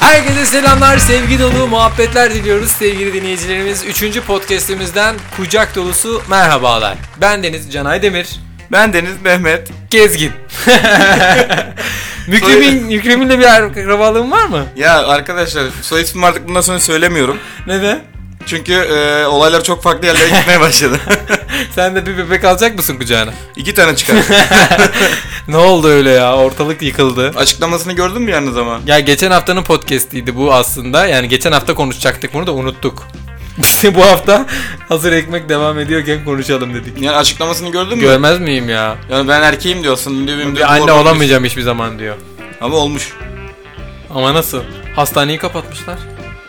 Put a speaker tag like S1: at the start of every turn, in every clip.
S1: Herkese selamlar, sevgi dolu muhabbetler diliyoruz sevgili dinleyicilerimiz. Üçüncü podcastimizden kucak dolusu merhabalar. Ben Deniz Canay Demir.
S2: Ben Deniz Mehmet.
S1: Gezgin. Mükremin, Mükremin'le bir akrabalığın var mı?
S2: Ya arkadaşlar soy ismimi artık bundan sonra söylemiyorum.
S1: Neden?
S2: Çünkü e, olaylar çok farklı yerlere gitmeye başladı.
S1: Sen de bir bebek alacak mısın kucağına?
S2: İki tane çıkar.
S1: Ne oldu öyle ya? Ortalık yıkıldı.
S2: Açıklamasını gördün mü yalnız ama?
S1: Ya geçen haftanın podcast'iydi bu aslında. Yani geçen hafta konuşacaktık bunu da unuttuk. bu hafta hazır ekmek devam ediyorken konuşalım dedik.
S2: Yani açıklamasını gördün mü?
S1: Görmez miyim ya?
S2: yani ben erkeğim diyorsun. Diyor, benim de
S1: Bir anne
S2: hormonum-
S1: olamayacağım hiçbir zaman diyor.
S2: Ama olmuş.
S1: Ama nasıl? Hastaneyi kapatmışlar.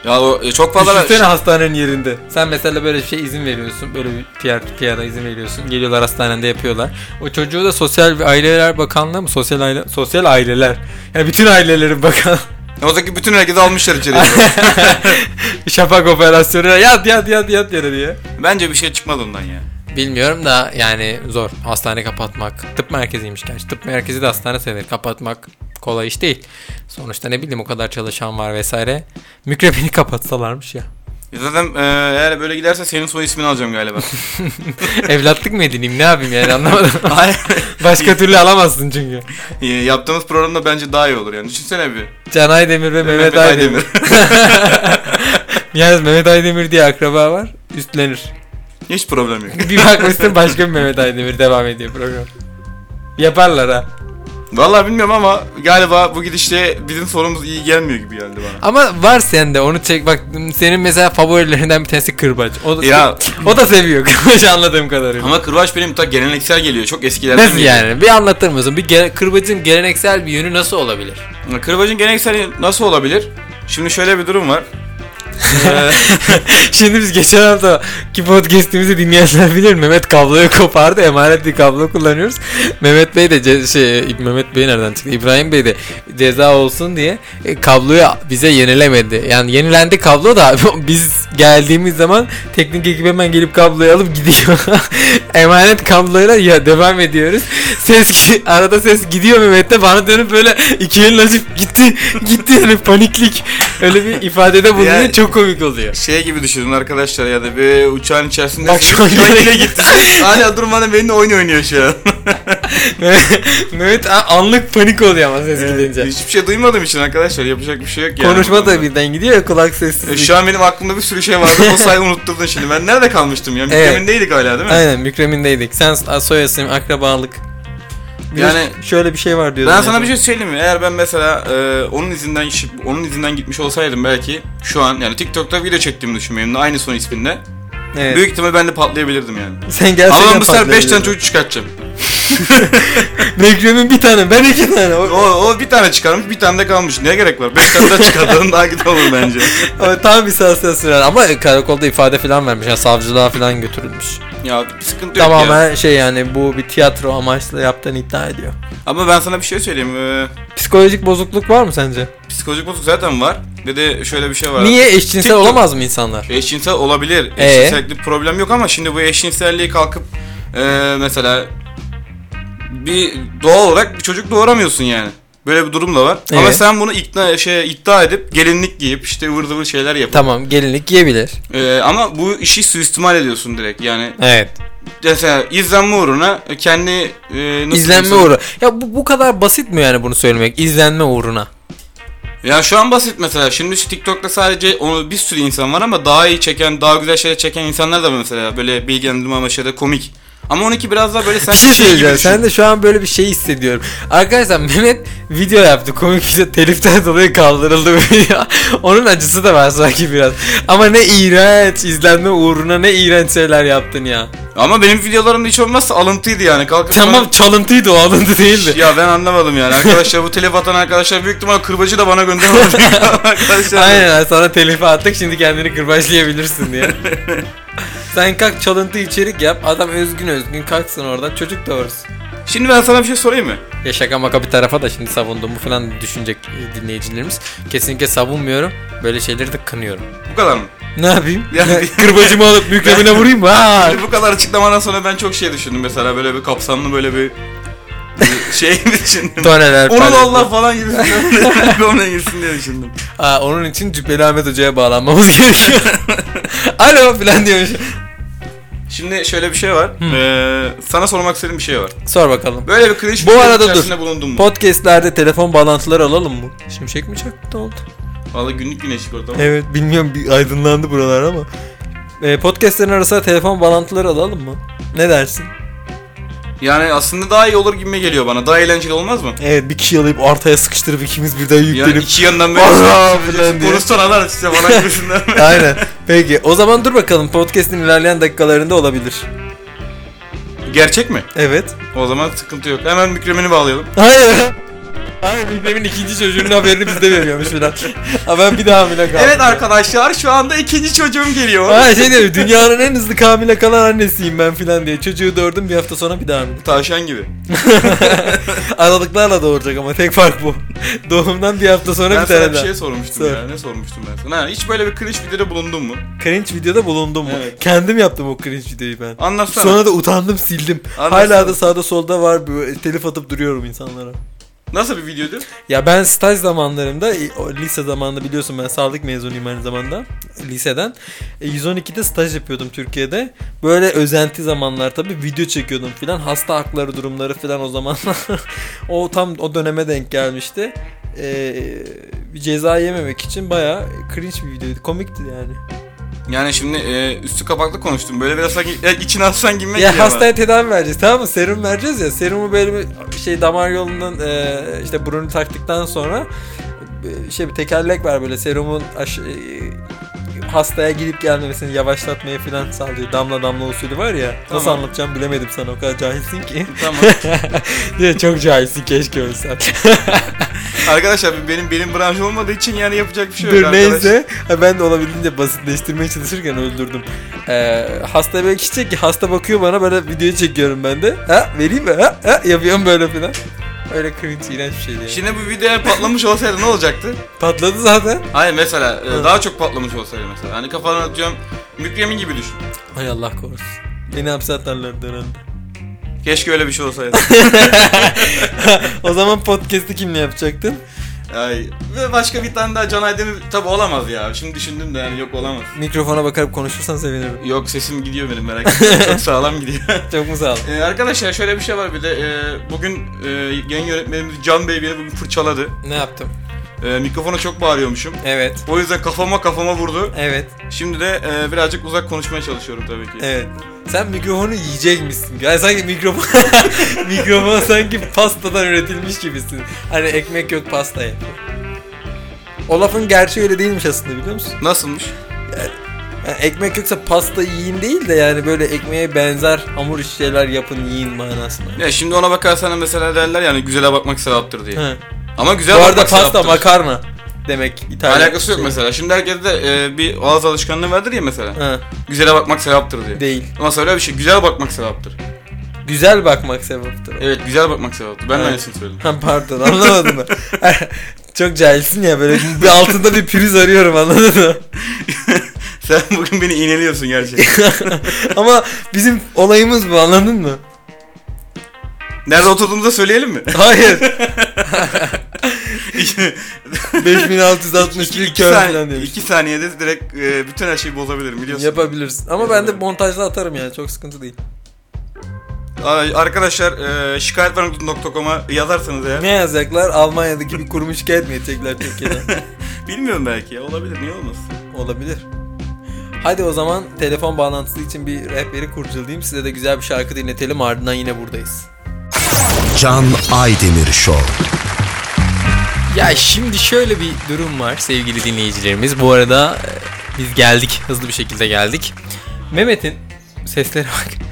S2: Ya o, e, çok fazla...
S1: Düşünsene hastanenin yerinde. Sen mesela böyle bir şey izin veriyorsun. Böyle bir PR, PR'a izin veriyorsun. Geliyorlar hastanende yapıyorlar. O çocuğu da Sosyal ve Aileler Bakanlığı mı? Sosyal aile, sosyal aileler. Yani bütün ailelerin bakan.
S2: Oradaki bütün herkesi almışlar içeriye.
S1: Şafak operasyonu. Yat yat yat yat yere diye.
S2: Bence bir şey çıkmadı ondan ya.
S1: Bilmiyorum da yani zor. Hastane kapatmak. Tıp merkeziymiş gerçi. Tıp merkezi de hastane sayılır. Kapatmak kolay iş değil. Sonuçta ne bileyim o kadar çalışan var vesaire. Mükrebini kapatsalarmış ya.
S2: E Zaten e, eğer böyle giderse senin soy ismini alacağım galiba.
S1: Evlatlık mı edineyim ne yapayım yani anlamadım.
S2: Hayır.
S1: Başka türlü alamazsın çünkü.
S2: E, Yaptığımız programda bence daha iyi olur yani. Düşünsene bir.
S1: Can Aydemir ve Mehmet Aydemir. Yalnız Mehmet Aydemir diye akraba var. Üstlenir.
S2: Hiç problem yok.
S1: Bir bakmışsın başka bir Mehmet Aydemir devam ediyor program. Yaparlar ha.
S2: Vallahi bilmiyorum ama galiba bu gidişle bizim sorumuz iyi gelmiyor gibi geldi bana.
S1: Ama var sende onu çek bak senin mesela favorilerinden bir tanesi kırbaç. O da,
S2: Ya.
S1: o da seviyor kırbaç anladığım kadarıyla.
S2: Ama kırbaç benim ta geleneksel geliyor. Çok eskilerden
S1: Nasıl
S2: geliyor.
S1: yani? Bir anlatır mısın? Bir gele- kırbacın geleneksel bir yönü nasıl olabilir?
S2: Kırbacın geleneksel nasıl olabilir? Şimdi şöyle bir durum var. Ee,
S1: Şimdi biz geçen hafta ki podcast'imizi dinleyenler bilir Mehmet kabloyu kopardı. Emanet bir kablo kullanıyoruz. Mehmet Bey de ce- şey Mehmet Bey nereden çıktı? İbrahim Bey de ceza olsun diye e, kabloyu bize yenilemedi. Yani yenilendi kablo da biz geldiğimiz zaman teknik ekip hemen gelip kabloyu alıp gidiyor. Emanet kabloyla ya devam ediyoruz. Ses gi- arada ses gidiyor Mehmet'te bana dönüp böyle iki elini açıp gitti gitti yani paniklik. Öyle bir ifadede bulunuyor
S2: Yani-
S1: çok komik oluyor.
S2: şey gibi düşünün arkadaşlar ya da bir uçağın içerisinde
S1: Bak şu an
S2: yine gitti. Hala durmadan benimle oyun oynuyor şu an.
S1: Mehmet a- anlık panik oluyor ama ses gidince.
S2: Hiçbir şey duymadığım için arkadaşlar yapacak bir şey yok yani.
S1: Konuşma da birden gidiyor ya kulak sessizliği.
S2: E, Şu an benim aklımda bir sürü şey vardı. O sayı unutturdun şimdi. Ben nerede kalmıştım ya?
S1: Evet.
S2: Mükemmindeydik hala değil mi?
S1: Aynen Mükrem'indeydik. Sen s- soy isim, akrabalık. Bir de
S2: Yani-
S1: ş- şöyle bir şey var diyordun.
S2: Ben
S1: ya.
S2: sana bir şey söyleyeyim mi? Eğer ben mesela e, onun izinden şi- onun izinden gitmiş olsaydım belki şu an yani TikTok'ta video çektiğimi düşünmüyorum. Aynı son isminde.
S1: Evet.
S2: Büyük ihtimal ben de patlayabilirdim yani.
S1: Sen gerçekten
S2: Ama ben bu sefer 5 tane
S1: patlayabilirdin.
S2: çocuk çıkartacağım.
S1: Mükrem'in bir tane, ben iki tane.
S2: O,
S1: O,
S2: o bir tane çıkarmış, bir tane de kalmış. Ne gerek var? 5 tane daha çıkartalım daha güzel olur bence.
S1: o tam bir saat sürer. Ama karakolda ifade falan vermiş. Yani savcılığa falan götürülmüş.
S2: Ya sıkıntı yok ya.
S1: Tamamen şey yani bu bir tiyatro amaçlı yaptığını iddia ediyor.
S2: Ama ben sana bir şey söyleyeyim. E,
S1: Psikolojik bozukluk var mı sence?
S2: psikolojik bozuk zaten var. Bir de şöyle bir şey var.
S1: Niye eşcinsel
S2: TikTok-
S1: olamaz mı insanlar?
S2: Eşcinsel olabilir.
S1: Ee?
S2: Eşcinsellikte problem yok ama şimdi bu eşcinselliği kalkıp e, mesela bir doğal olarak bir çocuk doğuramıyorsun yani. Böyle bir durum da var. Ama
S1: Evet.
S2: sen bunu ikna şey iddia edip gelinlik giyip işte ıvır zıvır şeyler yapıp
S1: Tamam gelinlik giyebilir.
S2: e, ama bu işi suistimal ediyorsun direkt. Yani
S1: Evet.
S2: mesela izlenme uğruna kendi e, nasıl
S1: İzlenme
S2: diyeyim sana-
S1: uğru. Ya bu, bu kadar basit mi yani bunu söylemek? İzlenme uğruna.
S2: Ya şu an basit mesela. Şimdi şu TikTok'ta sadece onu bir sürü insan var ama daha iyi çeken, daha güzel şeyler çeken insanlar da var mesela. Böyle bilgilendirme amaçlı da komik. Ama onunki biraz daha böyle
S1: Bir
S2: sanki
S1: şey söyleyeceğim.
S2: düşün.
S1: Sen de şu an böyle bir şey hissediyorum. Arkadaşlar Mehmet video yaptı. Komik video teliften dolayı kaldırıldı bu video. Onun acısı da var sanki biraz. Ama ne iğrenç izlenme uğruna ne iğrenç şeyler yaptın ya.
S2: Ama benim videolarımda hiç olmazsa alıntıydı yani. Kalkıp
S1: Tamam çalıntıydı o alındı
S2: bana-
S1: değildi.
S2: Ya ben anlamadım yani. Arkadaşlar bu telef atan arkadaşlar büyük ihtimal kırbacı da bana göndermedi. arkadaşlar.
S1: Aynen sana telifi attık şimdi kendini kırbaçlayabilirsin diye. Sen kalk çalıntı içerik yap. Adam özgün özgün kalksın oradan çocuk doğursun.
S2: Şimdi ben sana bir şey sorayım mı?
S1: Ya şaka maka bir tarafa da şimdi savunduğumu falan düşünecek e, dinleyicilerimiz. Kesinlikle savunmuyorum. Böyle şeyleri de kınıyorum.
S2: Bu kadar mı?
S1: Ne yapayım?
S2: Yani-
S1: Kırbacımı alıp büyüklemine vurayım mı? Aa!
S2: Şimdi bu kadar açıklamadan sonra ben çok şey düşündüm mesela böyle bir kapsamlı böyle bir şey mi düşündüm?
S1: Doneler
S2: Onu da
S1: paylaşıyor.
S2: Allah falan gibi düşündüm. Konuya girsin diye düşündüm.
S1: Aa, onun için Cübbeli Ahmet Hoca'ya bağlanmamız gerekiyor. Alo falan diyormuş.
S2: Şimdi şöyle bir şey var. Ee, sana sormak istediğim bir şey var.
S1: Sor bakalım.
S2: Böyle bir cringe
S1: Bu
S2: bir
S1: arada dur.
S2: içerisinde bulundun mu? Podcast'lerde
S1: Podcast'lerde telefon bağlantıları alalım mı? Şimşek mi çaktı ne oldu?
S2: Valla günlük güneşlik orada ama.
S1: Evet bilmiyorum bir aydınlandı buralar ama. Ee, podcast'lerin arasına telefon bağlantıları alalım mı? Ne dersin?
S2: Yani aslında daha iyi olur gibime geliyor bana. Daha eğlenceli olmaz mı?
S1: Evet bir kişi alıp artaya sıkıştırıp ikimiz birden
S2: Yani
S1: yüklenip.
S2: iki yandan
S1: Allah
S2: böyle
S1: falan diye.
S2: konuşsanalar size falan gibisinden.
S1: Aynen. Peki o zaman dur bakalım podcast'in ilerleyen dakikalarında olabilir.
S2: Gerçek mi?
S1: Evet.
S2: O zaman sıkıntı yok. Hemen mikrofonu bağlayalım.
S1: Hayır. Hayır Biklem'in ikinci çocuğunun haberini biz de veriyormuş falan. Ha ben bir daha hamile kaldım.
S2: Evet arkadaşlar şu anda ikinci çocuğum geliyor.
S1: Ha şey diyor dünyanın en hızlı hamile kalan annesiyim ben filan diye. Çocuğu doğurdum bir hafta sonra bir daha hamile.
S2: Tavşan gibi.
S1: Aralıklarla doğuracak ama tek fark bu. Doğumdan bir hafta sonra
S2: Ben
S1: bir tane
S2: sana bir
S1: daha.
S2: şey sormuştum
S1: Sor.
S2: ya. Ne sormuştum ben sana? Ha, hiç böyle bir cringe videoda bulundun mu?
S1: Cringe videoda bulundum mu?
S2: Evet.
S1: Kendim yaptım o cringe videoyu ben.
S2: Anlatsana.
S1: Sonra da utandım sildim.
S2: Anlatsana.
S1: Hala da sağda solda var böyle telif atıp duruyorum insanlara.
S2: Nasıl bir videoydu?
S1: Ya ben staj zamanlarımda e, o lise zamanında biliyorsun ben sağlık mezunuyum aynı zamanda liseden. E, 112'de staj yapıyordum Türkiye'de. Böyle özenti zamanlar tabii video çekiyordum filan. Hasta hakları durumları filan o zamanlar. o tam o döneme denk gelmişti. E, bir ceza yememek için bayağı cringe bir videoydu. Komikti yani.
S2: Yani şimdi e, üstü kapaklı konuştum. Böyle biraz sanki e, içine aslan gibi geliyor
S1: Ya
S2: bana.
S1: hastaya tedavi vereceğiz tamam mı? Serum vereceğiz ya. Serumu böyle bir şey damar yolundan e, işte burunu taktıktan sonra e, şey bir tekerlek var böyle serumun aş- e, hastaya gidip gelmemesini yavaşlatmayı falan sağlıyor. Damla damla usulü var ya. Nasıl
S2: Tamam.
S1: anlatacağım bilemedim sana o kadar cahilsin ki.
S2: Tamam.
S1: Ya Çok cahilsin keşke ölsen.
S2: Arkadaşlar benim benim branş olmadığı için yani yapacak bir şey yok
S1: Dur
S2: arkadaş.
S1: neyse. Ha, Ben de olabildiğince basitleştirmeye çalışırken öldürdüm. Ee, hasta böyle çiçek ki hasta bakıyor bana böyle video çekiyorum ben de. Ha vereyim mi? Ha, ha yapıyorum böyle filan. Öyle cringe iğrenç bir şeydi yani.
S2: Şimdi bu video eğer patlamış olsaydı ne olacaktı?
S1: Patladı zaten.
S2: Hayır mesela e,
S1: Hı.
S2: daha çok patlamış olsaydı mesela. Hani kafadan atıyorum mükremin gibi düşün.
S1: Hay Allah korusun. Beni hapse atarlardı herhalde.
S2: Keşke öyle bir şey olsaydı.
S1: o zaman podcast'i kimle yapacaktın?
S2: Ay. Ve başka bir tane daha Can Aydemir tabi olamaz ya. Şimdi düşündüm de yani yok olamaz.
S1: Mikrofona bakarak konuşursan sevinirim.
S2: Yok sesim gidiyor benim merak etme. Çok sağlam gidiyor.
S1: Çok mu sağ ol?
S2: Ee, arkadaşlar şöyle bir şey var bir de e, bugün e, yayın yönetmenimiz Can Bey beni bugün fırçaladı.
S1: Ne yaptım?
S2: E, mikrofona çok bağırıyormuşum.
S1: Evet.
S2: O yüzden kafama kafama vurdu.
S1: Evet.
S2: Şimdi de e, birazcık uzak konuşmaya çalışıyorum tabii ki.
S1: Evet. Sen mikrofonu yiyecekmişsin. Yani sanki mikrofon mikrofon sanki pastadan üretilmiş gibisin. Hani ekmek yok pasta ye. O lafın gerçeği öyle değilmiş aslında biliyor musun?
S2: Nasılmış?
S1: Yani ekmek yoksa pasta yiyin değil de yani böyle ekmeğe benzer hamur işi şeyler yapın yiyin manasına.
S2: Ya şimdi ona bakarsan mesela derler yani güzele bakmak sevaptır diye.
S1: Hı.
S2: Ama güzel
S1: Bu
S2: bakmak
S1: arada pasta
S2: sevaptır.
S1: makarna demek İtalyan.
S2: Alakası yok
S1: şey.
S2: mesela. Şimdi herkes de e, bir ağız alışkanlığı vardır ya mesela.
S1: Hı,
S2: Güzele bakmak sevaptır diye.
S1: değil.
S2: Ama söyle bir şey. Güzel bakmak sevaptır.
S1: Güzel bakmak sevaptır.
S2: Evet güzel bakmak sevaptır. Ben de
S1: Evet.
S2: aynısını söyledim.
S1: Ha pardon anlamadım ben. Çok cahilsin ya böyle bir altında bir priz arıyorum anladın mı?
S2: Sen bugün beni iğneliyorsun gerçekten.
S1: Ama bizim olayımız bu anladın mı?
S2: Nerede oturduğumuzu da söyleyelim mi?
S1: Hayır.
S2: İki-
S1: 5661
S2: iki,
S1: kör falan
S2: saniye,
S1: demiş.
S2: iki saniyede direkt e, bütün her şeyi bozabilirim biliyorsun.
S1: Yapabilirsin. Ama ben de montajla atarım yani çok sıkıntı değil.
S2: Ay, Arkadaşlar e, şikayetvermek.com'a yazarsanız eğer.
S1: Ne yazacaklar? Almanya'daki bir kurumu şikayet mi edecekler Türkiye'den?
S2: Bilmiyorum belki ya olabilir niye olmaz.
S1: Olabilir. Hadi o zaman telefon bağlantısı için bir rehberi kurcalayayım. Size de güzel bir şarkı dinletelim ardından yine buradayız.
S3: Can Aydemir Show.
S1: Ya şimdi şöyle bir durum var sevgili dinleyicilerimiz. Bu arada e, biz geldik. Hızlı bir şekilde geldik. Mehmet'in seslere bak.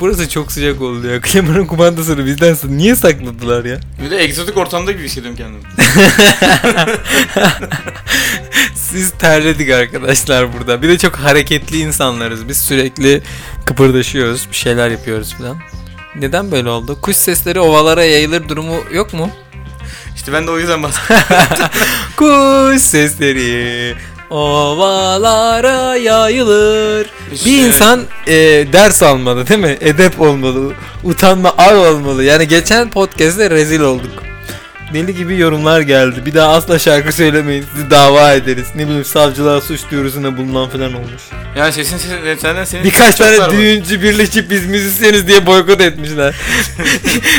S1: Burası çok sıcak oldu ya. Klimanın kumandasını bizden sa- niye sakladılar ya?
S2: Bir de egzotik ortamda gibi hissediyorum kendimi.
S1: Siz terledik arkadaşlar burada. Bir de çok hareketli insanlarız. Biz sürekli kıpırdaşıyoruz. Bir şeyler yapıyoruz falan. Neden böyle oldu? Kuş sesleri ovalara yayılır durumu yok mu?
S2: İşte ben de o yüzden bahsediyorum.
S1: Kuş sesleri Ovalara yayılır.
S2: İşte.
S1: Bir insan e, ders almalı değil mi? Edep olmalı. Utanma ar olmalı. Yani geçen podcast'te rezil olduk. Deli gibi yorumlar geldi. Bir daha asla şarkı söylemeyin. Sizi dava ederiz. Ne bileyim savcılığa suç duyurusunda bulunan falan olmuş.
S2: Yani sesin sesin senden senin
S1: Birkaç
S2: çok var
S1: tane
S2: mı?
S1: düğüncü birleşip biz müzisyeniz diye boykot etmişler.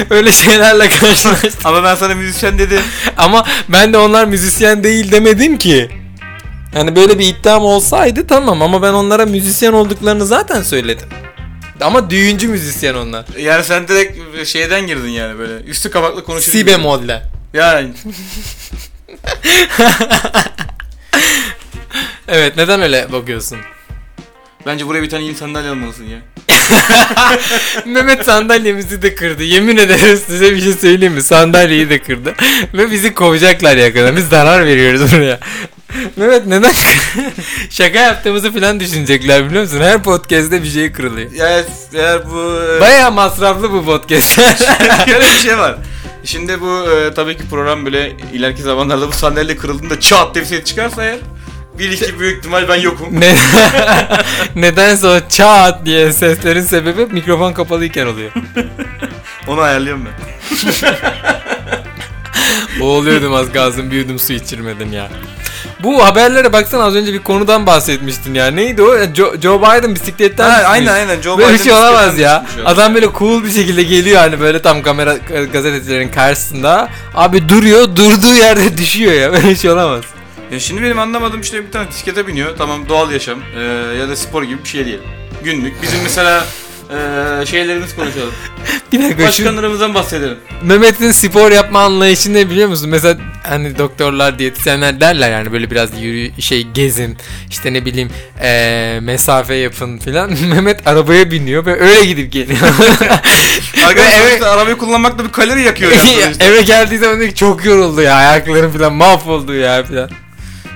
S1: Öyle şeylerle karşılaştık.
S2: Ama ben sana müzisyen dedim.
S1: Ama ben de onlar müzisyen değil demedim ki. Yani böyle bir iddiam olsaydı tamam ama ben onlara müzisyen olduklarını zaten söyledim. Ama düğüncü müzisyen onlar.
S2: Yani sen direkt şeyden girdin yani böyle. Üstü kapaklı konuşuyorsun.
S1: Si bemolle.
S2: Yani
S1: Evet neden öyle bakıyorsun?
S2: bence buraya bir tane yeni sandalye almalısın ya.
S1: Mehmet sandalyemizi de kırdı. Yemin ederim size bir şey söyleyeyim mi? Sandalyeyi de kırdı. Ve bizi kovacaklar yakında. Biz zarar veriyoruz buraya. Mehmet neden şaka yaptığımızı falan düşünecekler biliyor musun? Her podcast'te bir şey kırılıyor.
S2: Yani eğer bu...
S1: Baya masraflı bu podcast.
S2: Böyle bir şey var. Şimdi bu e, tabii ki program böyle ileriki zamanlarda bu sandalye kırıldığında çat diye bir ses çıkarsa eğer bir iki büyük ihtimal ben yokum.
S1: Ne- Nedense o çat diye seslerin sebebi mikrofon kapalıyken oluyor.
S2: Onu ayarlıyorum ben.
S1: Boğuluyordum az gazım büyüdüm su içirmedim ya. Bu haberlere baksana az önce bir konudan bahsetmiştin ya. Neydi o? Jo- Joe Biden bisikletten
S2: Ha,
S1: düşmüş.
S2: aynen, aynen. Joe
S1: böyle bir
S2: Biden
S1: şey olamaz
S2: bisikletten
S1: ya.
S2: düşmüş ya.
S1: Adam böyle cool bir şekilde geliyor hani böyle tam kamera e, gazetecilerin karşısında. Abi duruyor durduğu yerde düşüyor ya. Böyle bir şey olamaz.
S2: Ya şimdi benim anlamadığım işte bir tane bisiklete biniyor. Tamam doğal yaşam e, ya da spor gibi bir şey diyelim. Günlük. Bizim mesela e, şeylerimiz konuşalım.
S1: Bir dakika şu-
S2: Başkanlarımızdan bahsedelim.
S1: Mehmet'in spor yapma anlayışı ne biliyor musun? Mesela hani doktorlar, diyetisyenler derler yani böyle biraz yürü şey gezin, işte ne bileyim eee, mesafe yapın filan. Mehmet arabaya biniyor ve öyle gidip geliyor.
S2: Arkadaşlar
S1: Ve eve-
S2: işte arabayı kullanmak da bir kalori yakıyor ya. Sonuçta,
S1: Eve geldiği zaman diyor ki, çok yoruldu ya ayaklarım filan mahvoldu ya filan.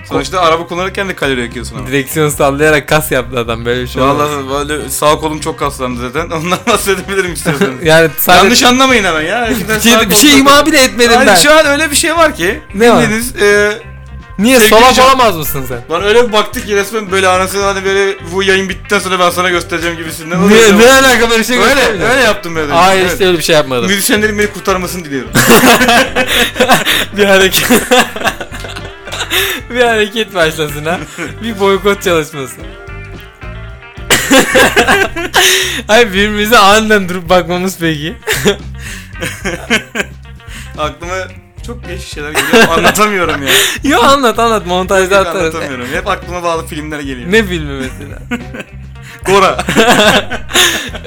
S2: sonuçta araba kullanırken de kalori yakıyorsun ama.
S1: Direksiyon sallayarak kas yaptı adam böyle bir şey olmaz.
S2: Vallahi böyle sağ kolum çok kaslandı zaten. Ondan bahsedebilirim istiyorsan.
S1: Yani sadece
S2: Yanlış anlamayın ama ya.
S1: bir şey, bir şey ima bile etmedim
S2: Hayır,
S1: ben.
S2: şu an öyle bir şey var ki.
S1: Ne var?
S2: bildiğiniz, e,
S1: Niye
S2: Sevgili
S1: salak
S2: Can-
S1: olamaz mısın sen?
S2: bana öyle bir baktık ki resmen böyle anasını hani böyle bu yayın bittikten sonra ben sana göstereceğim gibisinden.
S1: Ne, ne alaka böyle şey
S2: Öyle,
S1: göstermiyor?
S2: öyle yaptım böyle.
S1: Hayır
S2: Evet.
S1: işte öyle bir şey yapmadım.
S2: Müzisyenlerin beni kurtarmasını diliyorum.
S1: bir hareket. bir hareket başlasın ha. Bir boykot çalışması. Hayır birbirimize aniden durup bakmamız peki.
S2: Aklıma çok değişik şeyler geliyor. Anlatamıyorum ya.
S1: Yo anlat anlat montajda atarız.
S2: Anlatamıyorum. Hep aklıma bağlı filmler geliyor.
S1: Ne filmi mesela?
S2: Gora.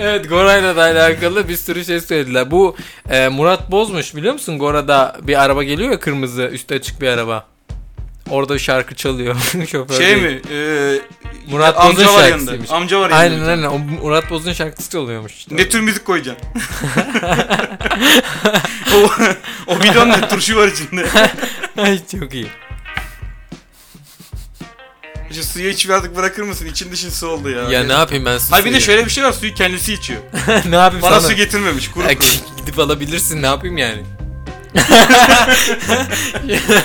S1: evet Gora'yla da alakalı bir sürü şey söylediler. Bu e, Murat Bozmuş biliyor musun? Gora'da bir araba geliyor ya kırmızı üstü açık bir araba. Orada şarkı çalıyor. Şoför değil.
S2: şey mi? Ee,
S1: Murat
S2: amca
S1: Boz'un
S2: var yanında.
S1: şarkısıymış.
S2: Amca var yanında.
S1: Aynen aynen. O Murat Boz'un şarkısı çalıyormuş. işte.
S2: Ne tür müzik koyacaksın? o, o bidon ne turşu var içinde.
S1: Ay çok iyi.
S2: Şu suyu içip artık bırakır mısın? İçin dışın su oldu ya.
S1: Ya ne yapayım ben su
S2: Hayır bir de
S1: suyu-
S2: şöyle bir şey var suyu kendisi içiyor.
S1: şey, ne yapayım sana?
S2: Bana su getirmemiş kuru
S1: Ya
S2: kuru.
S1: gi- Gidip alabilirsin ne yapayım yani?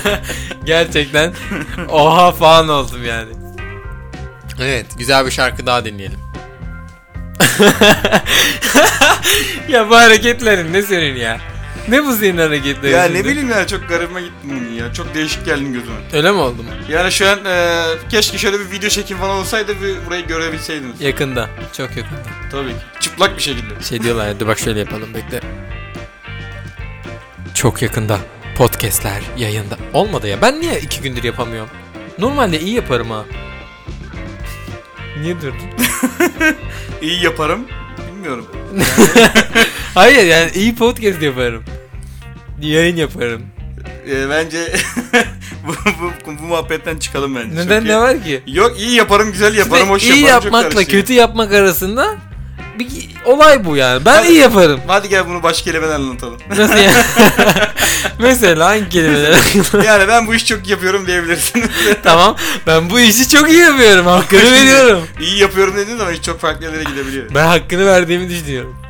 S1: Gerçekten oha falan oldum yani. Evet güzel bir şarkı daha dinleyelim. ya bu hareketlerin ne senin ya? Ne bu senin hareketlerin?
S2: Ya ne
S1: şimdi?
S2: bileyim yani çok garibime gitti bunun ya. Çok değişik geldin gözüme.
S1: Öyle mi oldum?
S2: Yani şu an e, keşke şöyle bir video çekim falan olsaydı bir burayı görebilseydiniz.
S1: Yakında. Çok yakında.
S2: Tabii ki. Çıplak bir şekilde.
S1: Şey diyorlar ya dur bak şöyle yapalım bekle. Çok yakında podcastler yayında. Olmadı ya ben niye iki gündür yapamıyorum? Normalde iyi yaparım ha. Niye durdun?
S2: İyi yaparım. Bilmiyorum.
S1: Hayır yani iyi podcast yaparım. Yayın yaparım.
S2: E, bence bu, bu, bu muhabbetten çıkalım bence.
S1: Neden
S2: Çünkü-
S1: ne var ki?
S2: Yok iyi yaparım güzel yaparım
S1: İşte
S2: hoş
S1: iyi
S2: yaparım. çok
S1: yapmakla
S2: karışıyor.
S1: kötü yapmak arasında bir olay bu yani. Ben
S2: Hadi-
S1: iyi yaparım.
S2: Hadi gel bunu başka kelimelerle anlatalım.
S1: Nasıl yani? Mesela hangi kelimeler?
S2: yani ben bu işi çok yapıyorum diyebilirsin.
S1: tamam. Ben bu işi çok iyi yapıyorum. Hakkını veriyorum.
S2: iyi yapıyorum dediğin zaman iş çok farklı yerlere gidebiliyor.
S1: Ben hakkını verdiğimi düşünüyorum.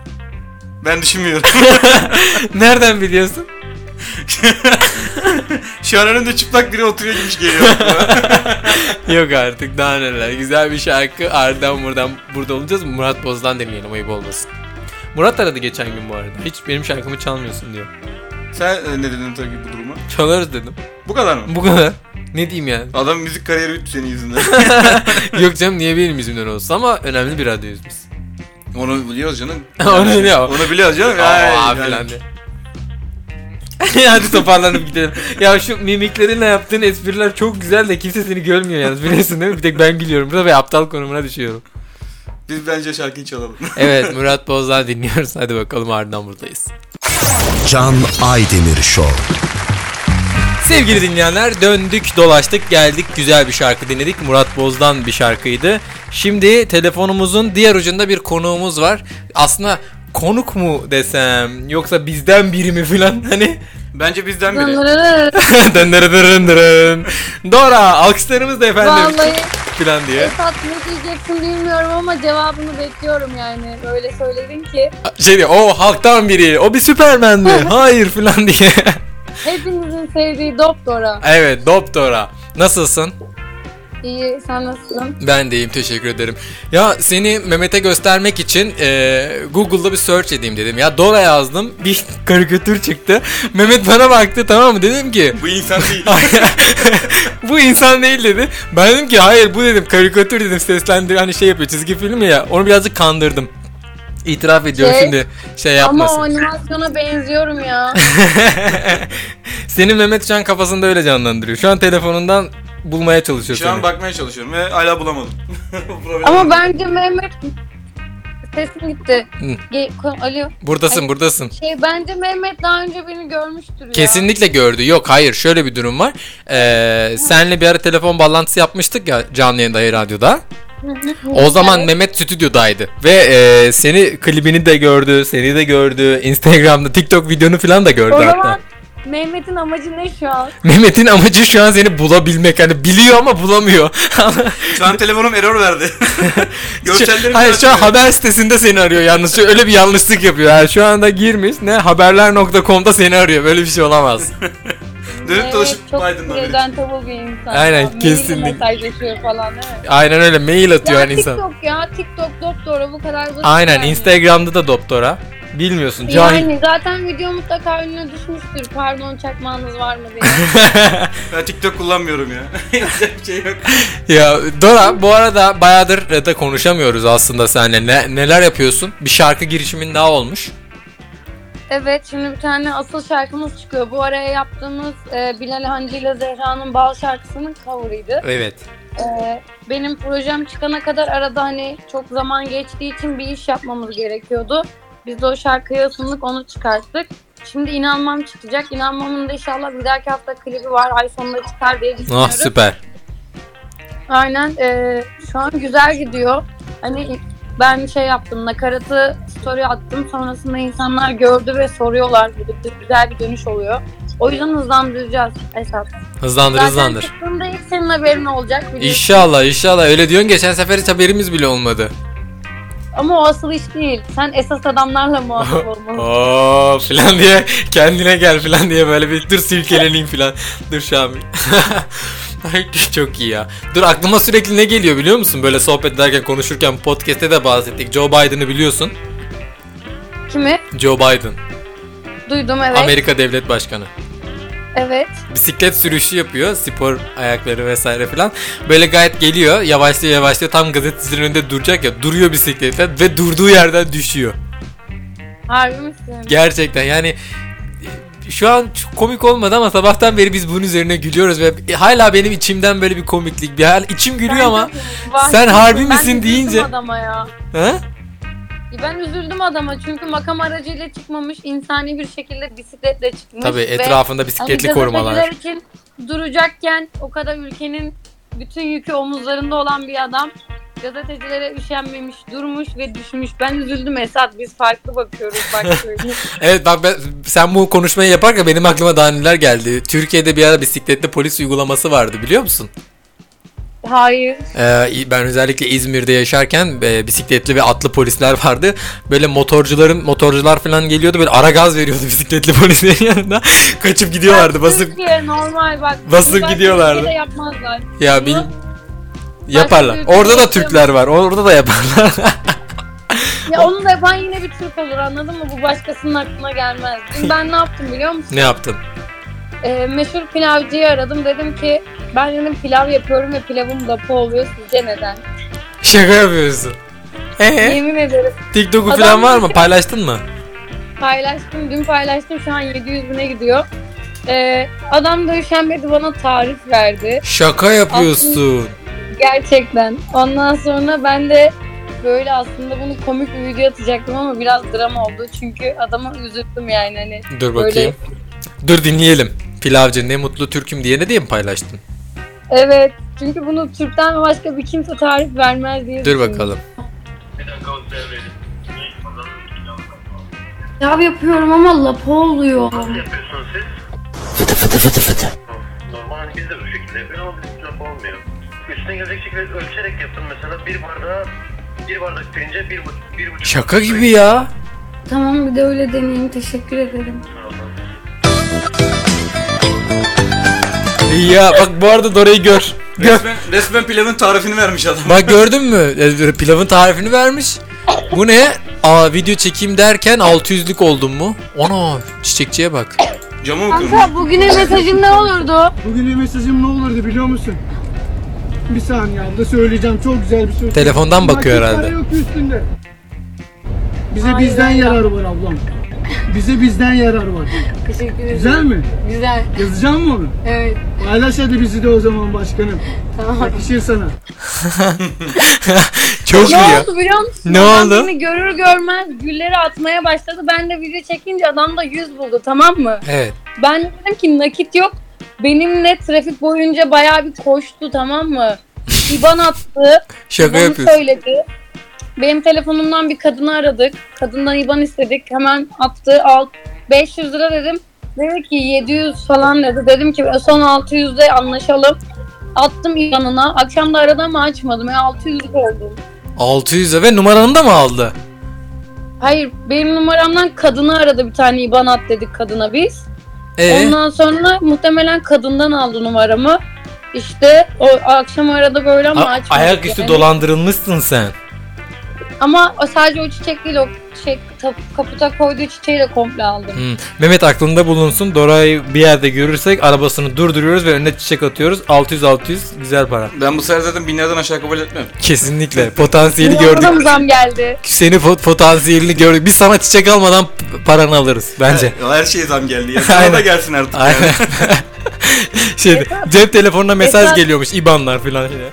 S2: Ben düşünmüyorum.
S1: Nereden biliyorsun?
S2: Şu an önümde çıplak biri oturuyor gibi geliyor.
S1: Yok artık daha neler. Güzel bir şarkı. Arda'dan buradan burada olacağız. Murat Boz'dan dinleyelim ayıp olmasın. Murat aradı geçen gün bu arada. Hiç benim şarkımı çalmıyorsun diyor.
S2: Sen e, ne dedin tabii bu duruma?
S1: Çalarız dedim.
S2: Bu kadar mı?
S1: Bu kadar. Ne diyeyim yani?
S2: Adam müzik kariyeri bitti senin yüzünden.
S1: Yok canım niye benim yüzümden olsun ama önemli bir radyoyuz biz.
S2: Onu biliyoruz canım.
S1: Onu biliyor.
S2: Onu biliyoruz canım.
S1: Aa
S2: Ay,
S1: filan
S2: yani.
S1: de. Hadi toparlanıp gidelim. Ya şu mimiklerinle yaptığın espriler çok güzel de kimse seni görmüyor yalnız biliyorsun değil mi? Bir tek ben gülüyorum burada ve aptal konumuna düşüyorum.
S2: Biz bence şarkıyı çalalım.
S1: Evet Murat Boz'dan dinliyoruz. Hadi bakalım ardından buradayız.
S3: Can Aydemir Show.
S1: Sevgili dinleyenler döndük dolaştık geldik güzel bir şarkı dinledik. Murat Boz'dan bir şarkıydı. Şimdi telefonumuzun diğer ucunda bir konuğumuz var. Aslında konuk mu desem yoksa bizden biri mi filan hani.
S2: bence bizden biri.
S4: Vallahi
S1: Dındırıdırındırın. Dora alkışlarımız da efendim
S4: Vallahi
S1: filan diye.
S4: Esat ne diyeceksin bilmiyorum ama cevabını bekliyorum yani. Böyle söyledin ki
S1: Şey diyor o halktan biri o bir süpermen mi? Hayır filan diye.
S4: hepinizin sevdiği Doktora.
S1: evet Doktora. Nasılsın?
S4: İyi sen nasılsın?
S1: Ben deyim teşekkür ederim. Ya seni Mehmet'e göstermek için e, Google'da bir search edeyim dedim. Ya Dora yazdım bir karikatür çıktı. Mehmet bana baktı tamam mı dedim ki
S2: Bu insan değil.
S1: bu insan değil dedi. Ben dedim ki hayır bu dedim karikatür dedim seslendir hani şey yapıyor çizgi film ya onu birazcık kandırdım. İtiraf ediyorum
S4: Şey,
S1: şimdi şey
S4: Ama hani- o
S1: yapmasın.
S4: animasyona benziyorum ya.
S1: Senin Mehmet şu an kafasında öyle canlandırıyor. Şu an telefonundan bulmaya çalışıyor
S2: Şu an
S1: seni.
S2: bakmaya çalışıyorum ve hala bulamadım. Bu problem.
S4: ama bence Mehmet sesim gitti. Ge- ko- Alo.
S1: Buradasın
S4: Ay,
S1: buradasın.
S4: Şey bence Mehmet daha önce beni görmüştür ya.
S1: Kesinlikle gördü. Yok hayır şöyle bir durum var. Ee, senle bir ara telefon bağlantısı yapmıştık ya canlı yayında Hayır Radyo'da. O zaman Mehmet stüdyodaydı ve e, seni klibini de gördü, seni de gördü, Instagram'da TikTok videonu falan da gördü
S4: O
S1: hatta.
S4: zaman Mehmet'in amacı ne şu an?
S1: Mehmet'in amacı şu an seni bulabilmek. Hani biliyor ama bulamıyor.
S2: Şu an telefonum error verdi. Görsellerim
S1: Hayır şu an
S2: biraz-
S1: haber sitesinde seni arıyor yalnız. Şu- Öyle bir yanlışlık yapıyor. Yani şu anda girmiş ne haberler.com'da seni arıyor. Böyle bir şey olamaz.
S2: Dönüp dolaşıp
S4: Mehmet çok
S2: Biden'dan vereceğim.
S4: presentable bir insan.
S1: Aynen,
S4: Mailde
S1: kesinlikle.
S4: mesajlaşıyor falan değil mi?
S1: Aynen öyle mail atıyor
S4: Ya
S1: hani insan.
S4: TikTok ya TikTok doktora bu kadar basit.
S1: Aynen
S4: yani.
S1: Instagram'da da doktora. Bilmiyorsun cahil.
S4: Yani zaten video mutlaka önüne düşmüştür. Pardon çakmağınız var mı diye.
S2: Ben TikTok kullanmıyorum ya. Yapacak bir şey yok.
S1: ya Dora bu arada bayağıdır da konuşamıyoruz aslında seninle. Ne- neler yapıyorsun? Bir şarkı girişimin daha olmuş.
S4: evet şimdi bir tane asıl şarkımız çıkıyor. Bu araya yaptığımız e, Bilal Hancı ile Zehra'nın Bal şarkısının cover'ıydı.
S1: Evet.
S4: E, benim projem çıkana kadar arada hani çok zaman geçtiği için bir iş yapmamız gerekiyordu. Biz de o şarkıya ısındık onu çıkarttık. Şimdi inanmam çıkacak. İnanmamın da inşallah bir dahaki hafta klibi var. Ay sonunda çıkar diye
S1: Ah
S4: düşünüyorum.
S1: süper.
S4: Aynen. eee, şu an güzel gidiyor. Hani ben şey yaptım, nakaratı story attım. Sonrasında insanlar gördü ve soruyorlar. Bu da Güzel bir dönüş oluyor. O yüzden hızlandıracağız esas.
S1: Hızlandır
S4: Zaten
S1: hızlandır.
S4: çıktığında ilk senin haberin olacak. biliyorsun.
S1: İnşallah inşallah öyle diyorsun geçen sefer hiç haberimiz bile olmadı.
S4: Ama o asıl iş değil. Sen esas adamlarla muhatap olmalısın.
S1: Oo filan diye kendine gel filan diye böyle bir dur silkeleneyim filan. Dur Şamil. Ay, Çok iyi ya. Dur aklıma sürekli ne geliyor biliyor musun? Böyle sohbet ederken konuşurken podcast'te de bahsettik. Joe Biden'ı biliyorsun.
S4: Kimi?
S1: Joe Biden.
S4: Duydum evet.
S1: Amerika Devlet Başkanı.
S4: evet.
S1: Bisiklet sürüşü yapıyor. Spor ayakları vesaire filan. Böyle gayet geliyor. Yavaşlıyor yavaşlıyor. Tam gazetecilerin önünde duracak ya. Duruyor bisikletle ve durduğu yerden düşüyor.
S4: Harbi misin?
S1: Gerçekten yani şu an çok komik olmadı ama sabahtan beri biz bunun üzerine gülüyoruz ve hala benim içimden böyle bir komiklik bir hal içim gülüyor ama
S4: Vay.
S1: sen harbi
S4: Ben
S1: misin
S4: üzüldüm
S1: deyince-
S4: adama ya. E,
S1: ha?
S4: Ben üzüldüm adama çünkü makam aracıyla çıkmamış, insani bir şekilde bisikletle çıkmış.
S1: Tabii
S4: ve
S1: etrafında bisikletli
S4: hani
S1: korumalar.
S4: gazeteciler için duracakken o kadar ülkenin bütün yükü omuzlarında olan bir adam gazetecilere üşenmemiş, durmuş ve düşmüş. Ben üzüldüm Esat. Biz farklı bakıyoruz. Bak söyleyeyim.
S1: Evet bak ben, sen bu konuşmayı yaparken benim aklıma daha neler geldi. Türkiye'de bir ara bisikletli polis uygulaması vardı biliyor musun?
S4: Hayır.
S1: Ee, ben özellikle İzmir'de yaşarken e, bisikletli ve atlı polisler vardı. Böyle motorcuların motorcular falan geliyordu böyle ara gaz veriyordu bisikletli polislerin yanında. Kaçıp gidiyorlardı basıp
S4: Türkiye normal bak.
S1: basıp
S4: bunu başka
S1: gidiyorlardı.
S4: ülkede yapmazlar.
S1: ya bil
S4: Bunu
S1: yaparlar.
S4: ülkede
S1: Orada da
S4: yapıyor
S1: Türkler var. Orada da yaparlar.
S4: Ya onu da yapan yine bir Türk olur anladın mı? Bu başkasının aklına gelmez. Dün ben ne yaptım biliyor musun?
S1: ne yaptın?
S4: Ee, meşhur pilavcıyı aradım. Dedim ki ben dedim pilav yapıyorum ve pilavım lapa oluyor. Sizce neden?
S1: Şaka yapıyorsun. Ee,
S4: Yemin ederim.
S1: TikTok'u
S4: Adam
S1: falan var mı?
S4: dedi-
S1: Paylaştın mı?
S4: Paylaştım. Dün paylaştım. Şu an 700 bine gidiyor. Ee, adam da üşenmedi bana tarif verdi.
S1: Şaka yapıyorsun.
S4: Gerçekten. Ondan sonra ben de böyle aslında bunu komik bir video atacaktım ama biraz drama oldu. Çünkü adama üzüldüm yani hani.
S1: Dur
S4: Böyle-
S1: bakayım. Dur dinleyelim. Pilavcı ne mutlu Türk'üm diye ne diye mi paylaştın?
S4: Evet. Çünkü bunu Türk'ten başka bir kimse tarif vermez
S1: Dur
S4: diye düşündüm.
S1: bakalım.
S4: Pilav yapıyorum ama lapa oluyor.
S5: yapıyorsunuz siz? Normal hani biz de bu şekilde yapıyoruz ama bizim laf olmuyor. Üstüne gelecek şekilde ölçerek yaptım mesela bir bardağa bir bardak pirince bir, bu- bir buçuk
S1: Şaka gibi ya.
S4: Tamam bir de öyle deneyeyim. Teşekkür ederim.
S1: Ya bak bu arada Dora'yı gör. Gör.
S2: Resmen, resmen pilavın tarifini vermiş adam.
S1: Bak gördün mü? E, Pilavın tarifini vermiş. Bu ne? Aa video çekeyim derken 600'lük oldum mu? Ana çiçekçiye bak.
S2: Camı mı kırmış?
S4: Kanka bugünün mesajın ne olurdu?
S6: Bugünün mesajım ne olurdu biliyor musun? Bir saniye abla söyleyeceğim çok güzel bir söz.
S1: Telefondan bakıyor
S6: Nakit para
S1: herhalde.
S6: yok üstünde. Bize
S4: Hayır,
S6: bizden
S4: hayır.
S6: yarar var ablam. Bize bizden yarar var.
S4: Teşekkür ederim.
S6: Güzel mi?
S4: Güzel.
S6: Yazacağım mı onu?
S4: Evet.
S6: Paylaş hadi bizi de o zaman başkanım.
S4: Tamam.
S6: Yakışır sana.
S1: Çok iyi
S4: Ne
S1: ya.
S4: oldu biliyor musun?
S1: Ne
S4: Adam
S1: oldu?
S4: Beni görür görmez gülleri atmaya başladı. Ben de video çekince adam da 100 buldu tamam mı?
S1: Evet.
S4: Ben dedim ki nakit yok. Benimle trafik boyunca bayağı bir koştu tamam mı? İban attı.
S1: Şaka
S4: bunu
S1: yapıyorsun.
S4: söyledi. Benim telefonumdan bir kadını aradık. Kadından IBAN istedik. Hemen attı. Alt 500 lira dedim. Dedi ki 700 falan dedi. Dedim ki son 600'de anlaşalım. Attım IBAN'ına. Akşam da aradı ama açmadım. Ya 600 lira oldu.
S1: 600'e ve numaranı da mı aldı?
S4: Hayır benim numaramdan kadını aradı bir tane IBAN at dedik kadına biz.
S1: Ee,
S4: Ondan sonra muhtemelen kadından aldı numaramı. İşte o akşam arada böyle ama
S1: a-
S4: açmadı.
S1: ayaküstü
S4: Yani.
S1: dolandırılmışsın sen.
S4: Ama o sadece o çiçek değil o şey tap- kaputa koyduğu çiçeği de komple aldım.
S1: Hmm. Mehmet aklında bulunsun. Dora'yı bir yerde görürsek arabasını durduruyoruz ve önüne çiçek atıyoruz. 600-600 güzel para.
S2: Ben bu sefer zaten binlerden aşağı kabul etmem.
S1: Kesinlikle. Potansiyeli
S4: Buna da mı
S1: gördük.
S4: zam geldi.
S1: Seni pot- potansiyelini gördük. Biz sana çiçek almadan p- paranı alırız bence.
S2: Ya Her şeye zam geldi ya.
S1: Aynen.
S2: Sana da gelsin artık.
S1: Aynen.
S2: Yani.
S1: şey, cep telefonuna mesaj
S4: Esas-
S1: geliyormuş IBAN'lar falan. Şöyle.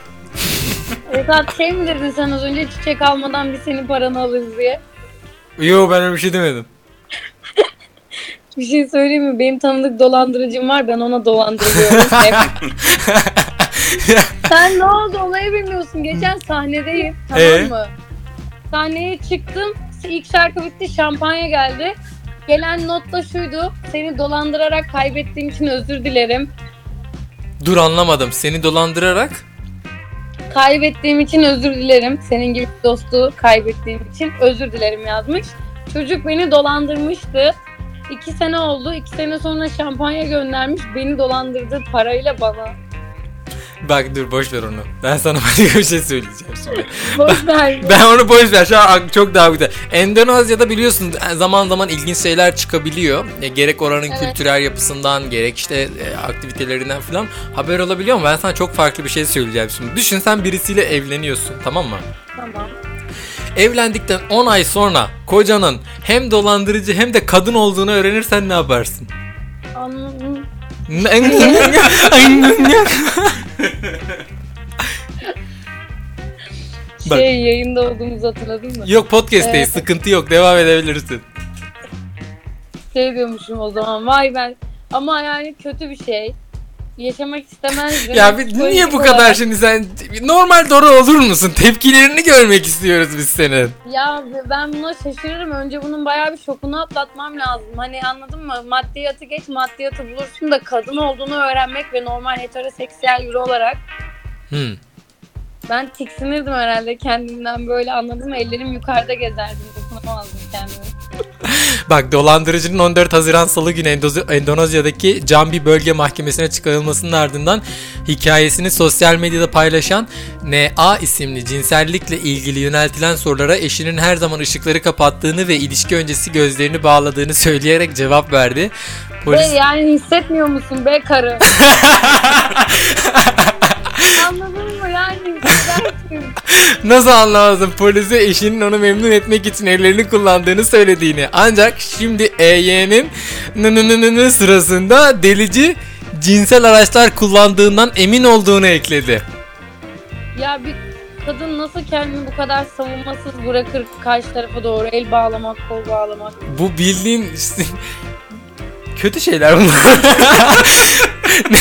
S4: Esat şey mi dedin sen az önce çiçek almadan biz senin paranı alırız diye.
S1: Yo ben öyle bir şey demedim.
S4: Bir şey söyleyeyim mi? Benim tanıdık dolandırıcım var. Ben ona dolandırıyorum. Hep. Sen ne oldu olayı bilmiyorsun. Geçen sahnedeyim. Tamam
S1: Ee?
S4: mı? Sahneye çıktım. İlk şarkı bitti. Şampanya geldi. Gelen not da şuydu. Seni dolandırarak kaybettiğim için özür dilerim.
S1: Dur anlamadım. Seni dolandırarak
S4: Kaybettiğim için özür dilerim. Senin gibi bir dostu kaybettiğim için özür dilerim yazmış. Çocuk beni dolandırmıştı. İki sene oldu. İki sene sonra şampanya göndermiş. Beni dolandırdığı parayla bana.
S1: Bak dur boş ver onu. Ben sana başka bir şey söyleyeceğim şimdi.
S4: Boş ver.
S1: Ben onu boş ver. Şu an ak- çok daha güzel. Endonezya'da biliyorsun e, zaman zaman ilginç şeyler çıkabiliyor. E, gerek oranın
S4: Evet.
S1: kültürel yapısından gerek işte e, aktivitelerinden falan haber olabiliyor ama ben sana çok farklı bir şey söyleyeceğim şimdi. Düşün sen birisiyle evleniyorsun tamam mı?
S4: tamam.
S1: Evlendikten 10 ay sonra kocanın hem dolandırıcı hem de kadın olduğunu öğrenirsen ne yaparsın?
S4: Anladım.
S1: Bak.
S4: Şey yayında olduğumuzu hatırladın mı?
S1: yok podcast'teyiz
S4: Ee,
S1: sıkıntı yok devam edebilirsin.
S4: Şey diyormuşum o zaman. Vay ben. Ama yani kötü bir şey. Yaşamak istemezdim.
S1: Ya bir,
S4: Psikolojik
S1: niye bu kadar şey
S4: olarak-
S1: şimdi sen normal doğru olur musun? Tepkilerini görmek istiyoruz biz senin.
S4: Ya ben buna şaşırırım. Önce bunun bayağı bir şokunu atlatmam lazım. Hani anladın mı? Maddiyatı geç maddiyatı bulursun da kadın olduğunu öğrenmek ve normal heteroseksüel biri olarak
S1: Hmm.
S4: Ben tiksinirdim herhalde kendimden böyle anladın mı? Ellerim yukarıda gezerdim. Dokunamazdım kendimi.
S1: Bak dolandırıcının 14 Haziran Salı günü Endoz- Endonezya'daki Jambi Bölge Mahkemesi'ne çıkarılmasının ardından hikayesini sosyal medyada paylaşan NA isimli cinsellikle ilgili yöneltilen sorulara eşinin her zaman ışıkları kapattığını ve ilişki öncesi gözlerini bağladığını söyleyerek cevap verdi.
S4: Be
S1: Polis...
S4: yani hissetmiyor musun be karı? Anladın mı yani? Güzel.
S1: Nasıl anlamazdın polise eşinin onu memnun etmek için ellerini kullandığını söylediğini. Ancak şimdi EY'nin nı nı nı nı nı sırasında delici cinsel araçlar kullandığından emin olduğunu ekledi.
S4: Ya bir kadın nasıl kendini bu kadar savunmasız bırakır karşı tarafa doğru el bağlamak, kol bağlamak?
S1: Bu bildiğin işte- kötü şeyler bunlar.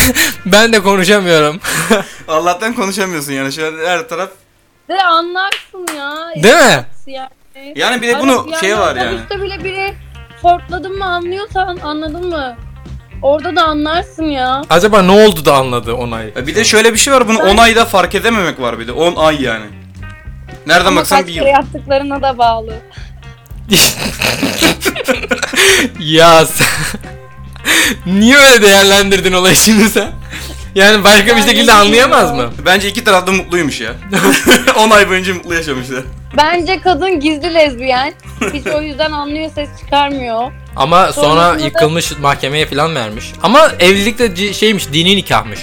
S1: ben de konuşamıyorum.
S2: Allah'tan konuşamıyorsun yani şu an her taraf.
S4: De anlarsın ya.
S1: Değil mi?
S4: Yani,
S2: Yani bir de bunu şey var yani.
S4: Otobüste bile biri fortladın mı anlıyorsan anladın mı? Orada da anlarsın ya.
S1: Acaba ne oldu da anladı onay?
S2: Ya Bir de şöyle bir şey var bunu 10 ayda fark edememek var bir de 10 ay yani. Nereden
S4: Ama
S2: baksan
S4: kaç
S2: bir
S4: kere
S2: yıl.
S4: yaptıklarına da bağlı.
S1: ya sen... Niye öyle değerlendirdin olayı şimdi sen? Yani başka bir
S4: Yani
S1: şekilde anlayamaz mı?
S2: Bence iki taraf da mutluymuş ya. 10 ay boyunca mutlu yaşamışlar.
S4: Bence kadın gizli lezbiyen. Hiç o yüzden anlıyor ses çıkarmıyor.
S1: Ama sonra
S4: Sonrasında da-
S1: yıkılmış mahkemeye falan vermiş. Ama evlilikte c- şeymiş dini nikahmış.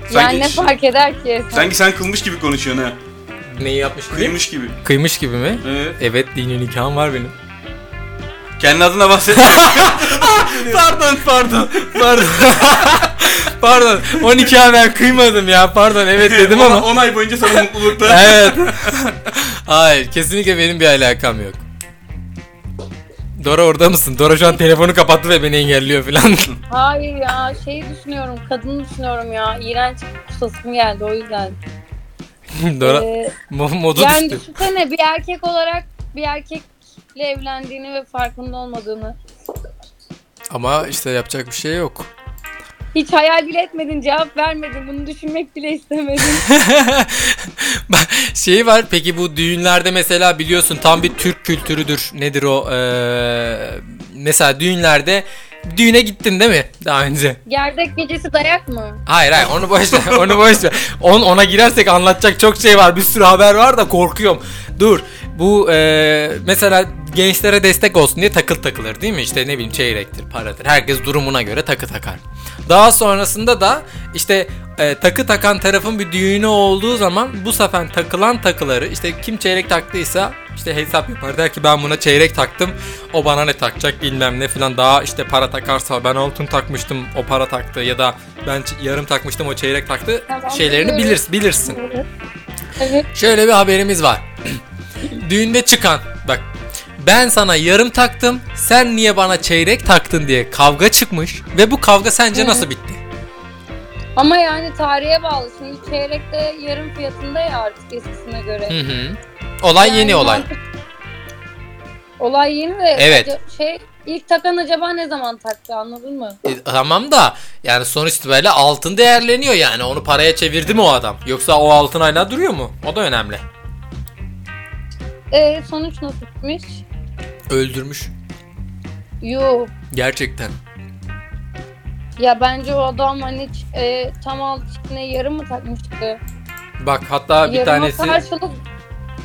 S2: Sanki
S4: yani ne
S2: hiç-
S4: fark eder ki?
S2: Sanki sen kılmış gibi konuşuyorsun ha.
S1: Neyi yapmış?
S2: Kıymış gibi.
S1: Kıymış gibi mi?
S2: Evet.
S1: Evet dini nikahım var benim.
S2: Kendi adına bahset. pardon pardon.
S1: Pardon. Pardon. O nikahı ben kıymadım ya. Pardon evet dedim
S2: On-
S1: ama.
S2: 10 ay boyunca sana mutluluklar.
S1: Evet. Hayır kesinlikle benim bir alakam yok. Dora orada mısın? Dora şu an telefonu kapattı ve beni engelliyor falan.
S4: Hayır ya şey düşünüyorum kadını düşünüyorum ya iğrenç kusasım geldi o yüzden.
S1: Dora
S4: Ee,
S1: mo- modu
S4: yani
S1: düştü.
S4: düşünsene bir erkek olarak bir erkekle evlendiğini ve farkında olmadığını.
S1: Ama işte yapacak bir şey yok.
S4: Hiç hayal bile etmedin cevap vermedin bunu düşünmek bile istemedin.
S1: Bak, şey var peki bu düğünlerde mesela biliyorsun tam bir Türk kültürüdür. Nedir o? Ee, mesela düğünlerde düğüne gittin değil mi daha önce?
S4: Gerdek gecesi dayak mı?
S1: Hayır hayır onu boş ver. Onu boş ver. On, ona girersek anlatacak çok şey var. Bir sürü haber var da korkuyorum. Dur. Bu ee, mesela gençlere destek olsun diye takıl takılır değil mi? İşte ne bileyim çeyrektir, paradır. Herkes durumuna göre takı takar. Daha sonrasında da işte e, takı takan tarafın bir düğünü olduğu zaman bu sefer takılan takıları işte kim çeyrek taktıysa işte hesap yapar der ki ben buna çeyrek taktım o bana ne takacak bilmem ne filan daha işte para takarsa ben altın takmıştım o para taktı ya da ben ç- yarım takmıştım o çeyrek taktı
S4: Tamam,
S1: şeylerini
S4: biliyorum.
S1: bilirsin bilirsin.
S4: Evet.
S1: Şöyle bir haberimiz var. Düğünde çıkan bak ben sana yarım taktım sen niye bana çeyrek taktın diye kavga çıkmış ve bu kavga sence nasıl bitti?
S4: Ama yani tarihe bağlı. Şimdi çeyrekte yarım fiyatında ya artık eskisine göre.
S1: Hı hı. Olay
S4: Yani
S1: yeni olay.
S4: mantık- Olay yeni ve
S1: Evet.
S4: aca- şey ilk takan acaba ne zaman taktı anladın mı?
S1: E, tamam da yani sonuç itibariyle altın değerleniyor yani onu paraya çevirdi mi o adam? Yoksa o altın hala duruyor mu? O da önemli.
S4: E sonuç nasıl bitmiş?
S1: Öldürmüş.
S4: Yuh.
S1: Gerçekten.
S4: Ya bence o adam hani ç- e, tam alt içine yarım mı takmıştı?
S1: Bak hatta bir
S4: Yarıma
S1: tanesi
S4: karşılık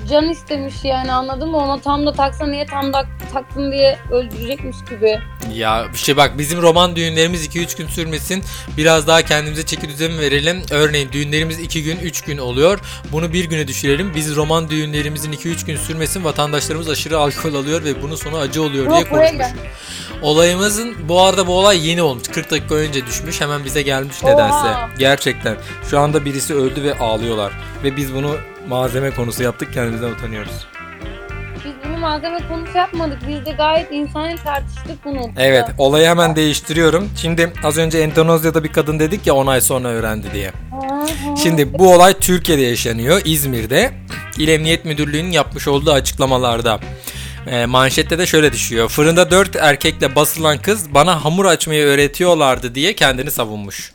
S4: can istemiş yani anladın mı? Ona tam da taksa niye tam da taktın diye öldürecekmiş gibi.
S1: ya bir şey bak bizim roman düğünlerimiz 2-3 gün sürmesin. Biraz daha kendimize çeki düzen verelim. Örneğin düğünlerimiz 2 gün 3 gün oluyor. Bunu bir güne düşürelim. Biz roman düğünlerimizin 2-3 gün sürmesin. Vatandaşlarımız aşırı alkol alıyor ve bunun sonu acı oluyor diye
S4: Yok, buraya
S1: konuşmuş. Olayımızın bu arada bu olay yeni olmuş. 40 dakika önce düşmüş. Hemen bize gelmiş
S4: Oha.
S1: nedense. Gerçekten. Şu anda birisi öldü ve ağlıyorlar. Ve biz bunu malzeme konusu yaptık. Kendimizden utanıyoruz.
S4: Biz bunu malzeme konusu yapmadık. Biz de gayet insani tartıştık bunu.
S1: Evet, olayı hemen değiştiriyorum. Şimdi az önce Endonezya'da bir kadın dedik ya 10 ay sonra öğrendi diye.
S4: Ha, ha.
S1: Şimdi bu olay Türkiye'de yaşanıyor, İzmir'de. İl Emniyet Müdürlüğü'nün yapmış olduğu açıklamalarda. e, manşette de şöyle düşüyor. Fırında 4 erkekle basılan kız bana hamur açmayı öğretiyorlardı diye kendini savunmuş.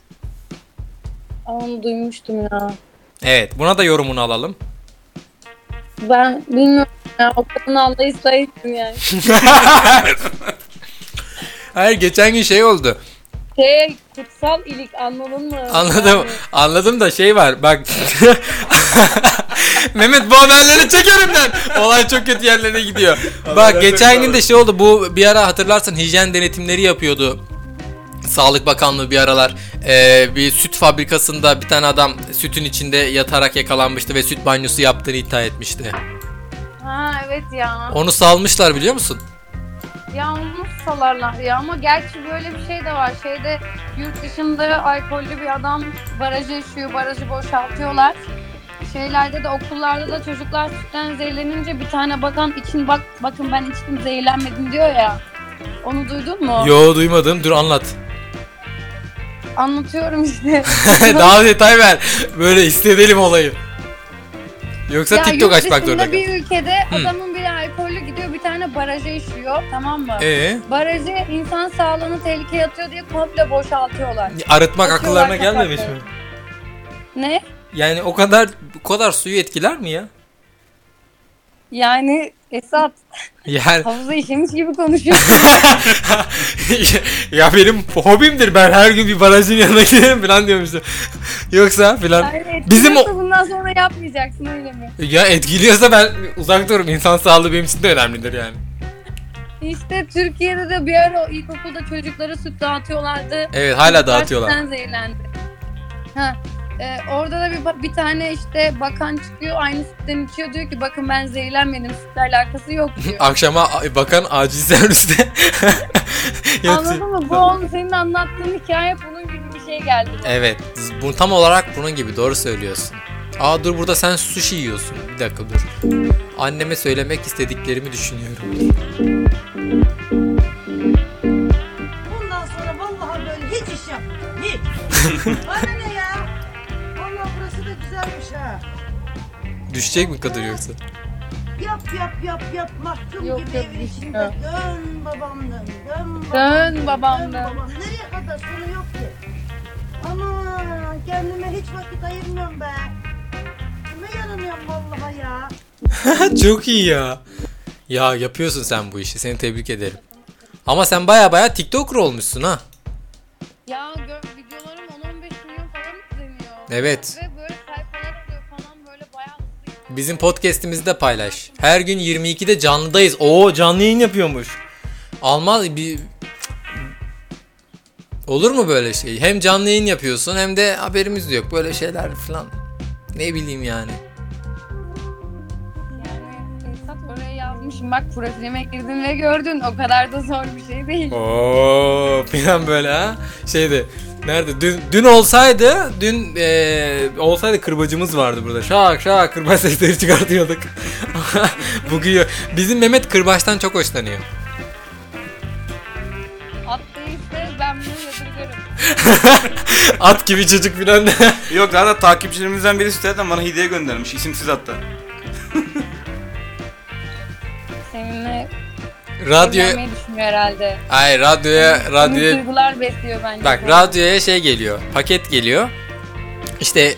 S4: Aa, Onu duymuştum ya.
S7: Evet buna da yorumunu alalım.
S4: Ben bilmiyorum ya. O kadın Allah'ı sayısın yani.
S1: Hayır geçen gün şey oldu.
S4: Şey kutsal ilik anladın mı?
S1: Anladım.
S4: Yani.
S1: Anladım da şey var. Bak. Mehmet bu haberleri çek önümden. Olay çok kötü yerlere gidiyor. Bak geçen gün de şey oldu. Bu bir ara hatırlarsan hijyen denetimleri yapıyordu. Sağlık Bakanlığı bir aralar eee, bir süt fabrikasında bir tane adam sütün içinde yatarak yakalanmıştı ve süt banyosu yaptığını iddia etmişti.
S4: Ha evet ya.
S1: Onu salmışlar biliyor musun?
S4: Ya onu salarlar ya ama gerçi böyle bir şey de var. Şeyde yurt dışında alkollü bir adam barajı yaşıyor, barajı boşaltıyorlar. Şeylerde de okullarda da çocuklar sütten zehirlenince bir tane bakan için bak bakın ben içtim zehirlenmedim diyor ya. Onu duydun mu?
S1: Yo duymadım. Dur anlat.
S4: Anlatıyorum işte.
S1: Daha detay ver. Böyle istedelim olayı. Yoksa
S4: Ya
S1: TikTok
S4: yurt
S1: açmak zorunda
S4: dışında
S1: kal.
S4: bir ülkede
S1: Hı.
S4: adamın biri alkollü gidiyor bir tane baraja işiyor tamam mı?
S1: Ee,
S4: Barajı insan sağlığını tehlikeye atıyor diye komple boşaltıyorlar.
S1: arıtmak
S4: Atıyorlar
S1: akıllarına gelmemiş mi?
S4: kapakları. Ne?
S1: Yani o kadar o kadar suyu etkiler mi ya?
S4: Yani Esat
S1: Yani
S4: havuza işemiş gibi konuşuyorsun.
S1: ya benim hobimdir ben her gün bir barajın yanına giderim falan diyormuştu. Yoksa falan.
S4: Yani
S1: Bizim
S4: Bizim
S1: o-
S4: bundan sonra yapmayacaksın öyle mi?
S1: Ya etkiliyorsa ben uzak dururum. İnsan sağlığı benim için de önemlidir yani.
S4: İşte Türkiye'de de bir ara o ilkokulda çocuklara süt dağıtıyorlardı.
S1: Evet E, hala
S4: Çocuklar
S1: dağıtıyorlar.
S4: sütten zehirlendi. Ha. e, orada da bir, bir tane işte bakan çıkıyor aynı sütten içiyor diyor ki bakın ben zehirlenmedim sütle alakası yok diyor.
S1: Akşama bakan acil serviste. Yatıyor.
S4: Anladın mı? Bu onun senin anlattığın hikaye bunun gibi bir şey geldi.
S1: Evet. Bu tam olarak bunun gibi doğru söylüyorsun. Aa dur burada sen sushi yiyorsun. Bir dakika dur. Anneme söylemek istediklerimi düşünüyorum.
S8: Bundan sonra vallahi böyle hiç iş yapma. Hiç. Bana ne ya? Vallahi burası da güzelmiş ha.
S1: Düşecek mi kadın yoksa?
S8: Yap yap yap yap mahkum
S4: Yok,
S8: gibi
S4: yok,
S8: evin
S4: hiç
S8: içinde.
S4: yok.
S8: Dön babamdan. Dön
S4: Dön
S8: babamdan.
S4: babamdan.
S8: babam. Nereye kadar sonu yok ki. Aman kendime hiç vakit ayırmıyorum be. Kime yaranıyorum vallahi ya.
S1: Çok iyi ya. Ya yapıyorsun sen bu işi. Seni tebrik ederim. Ama sen baya baya TikToker olmuşsun ha.
S4: Ya gör, videolarım 10-15 milyon falan izleniyor.
S1: Evet.
S4: Ve böyle sayfalar oluyor falan böyle bayağı hızlı
S1: Bizim podcast'imizi de paylaş. Her gün 22'de canlıdayız. Oo canlı yayın yapıyormuş. Almaz bir Olur mu böyle şey? Hem canlı yayın yapıyorsun hem de haberimiz de yok. Böyle şeyler falan. Ne bileyim yani.
S4: Yani Esat oraya yazmışım bak profilime girdin ve gördün o kadar da zor bir şey değil.
S1: Oo falan böyle ha. Şeydi. Nerede? Dün, dün olsaydı, dün eee, olsaydı kırbacımız vardı burada. Şak şak kırbaç sesleri çıkartıyorduk. Bugün yok. Bizim Mehmet kırbaçtan çok hoşlanıyor.
S4: At değilse ben bunu yadırgarım.
S1: At gibi çocuk falan.
S2: Yok daha da takipçilerimizden birisi zaten bana hediye göndermiş. İsimsiz hatta.
S4: Seninle
S1: Radyo,
S4: evlenmeyi düşünüyor herhalde.
S1: ay radyoya,
S4: Senin
S1: radyoya,
S4: duygular besliyor bence.
S1: bak radyoya şey geliyor, paket geliyor. İşte e,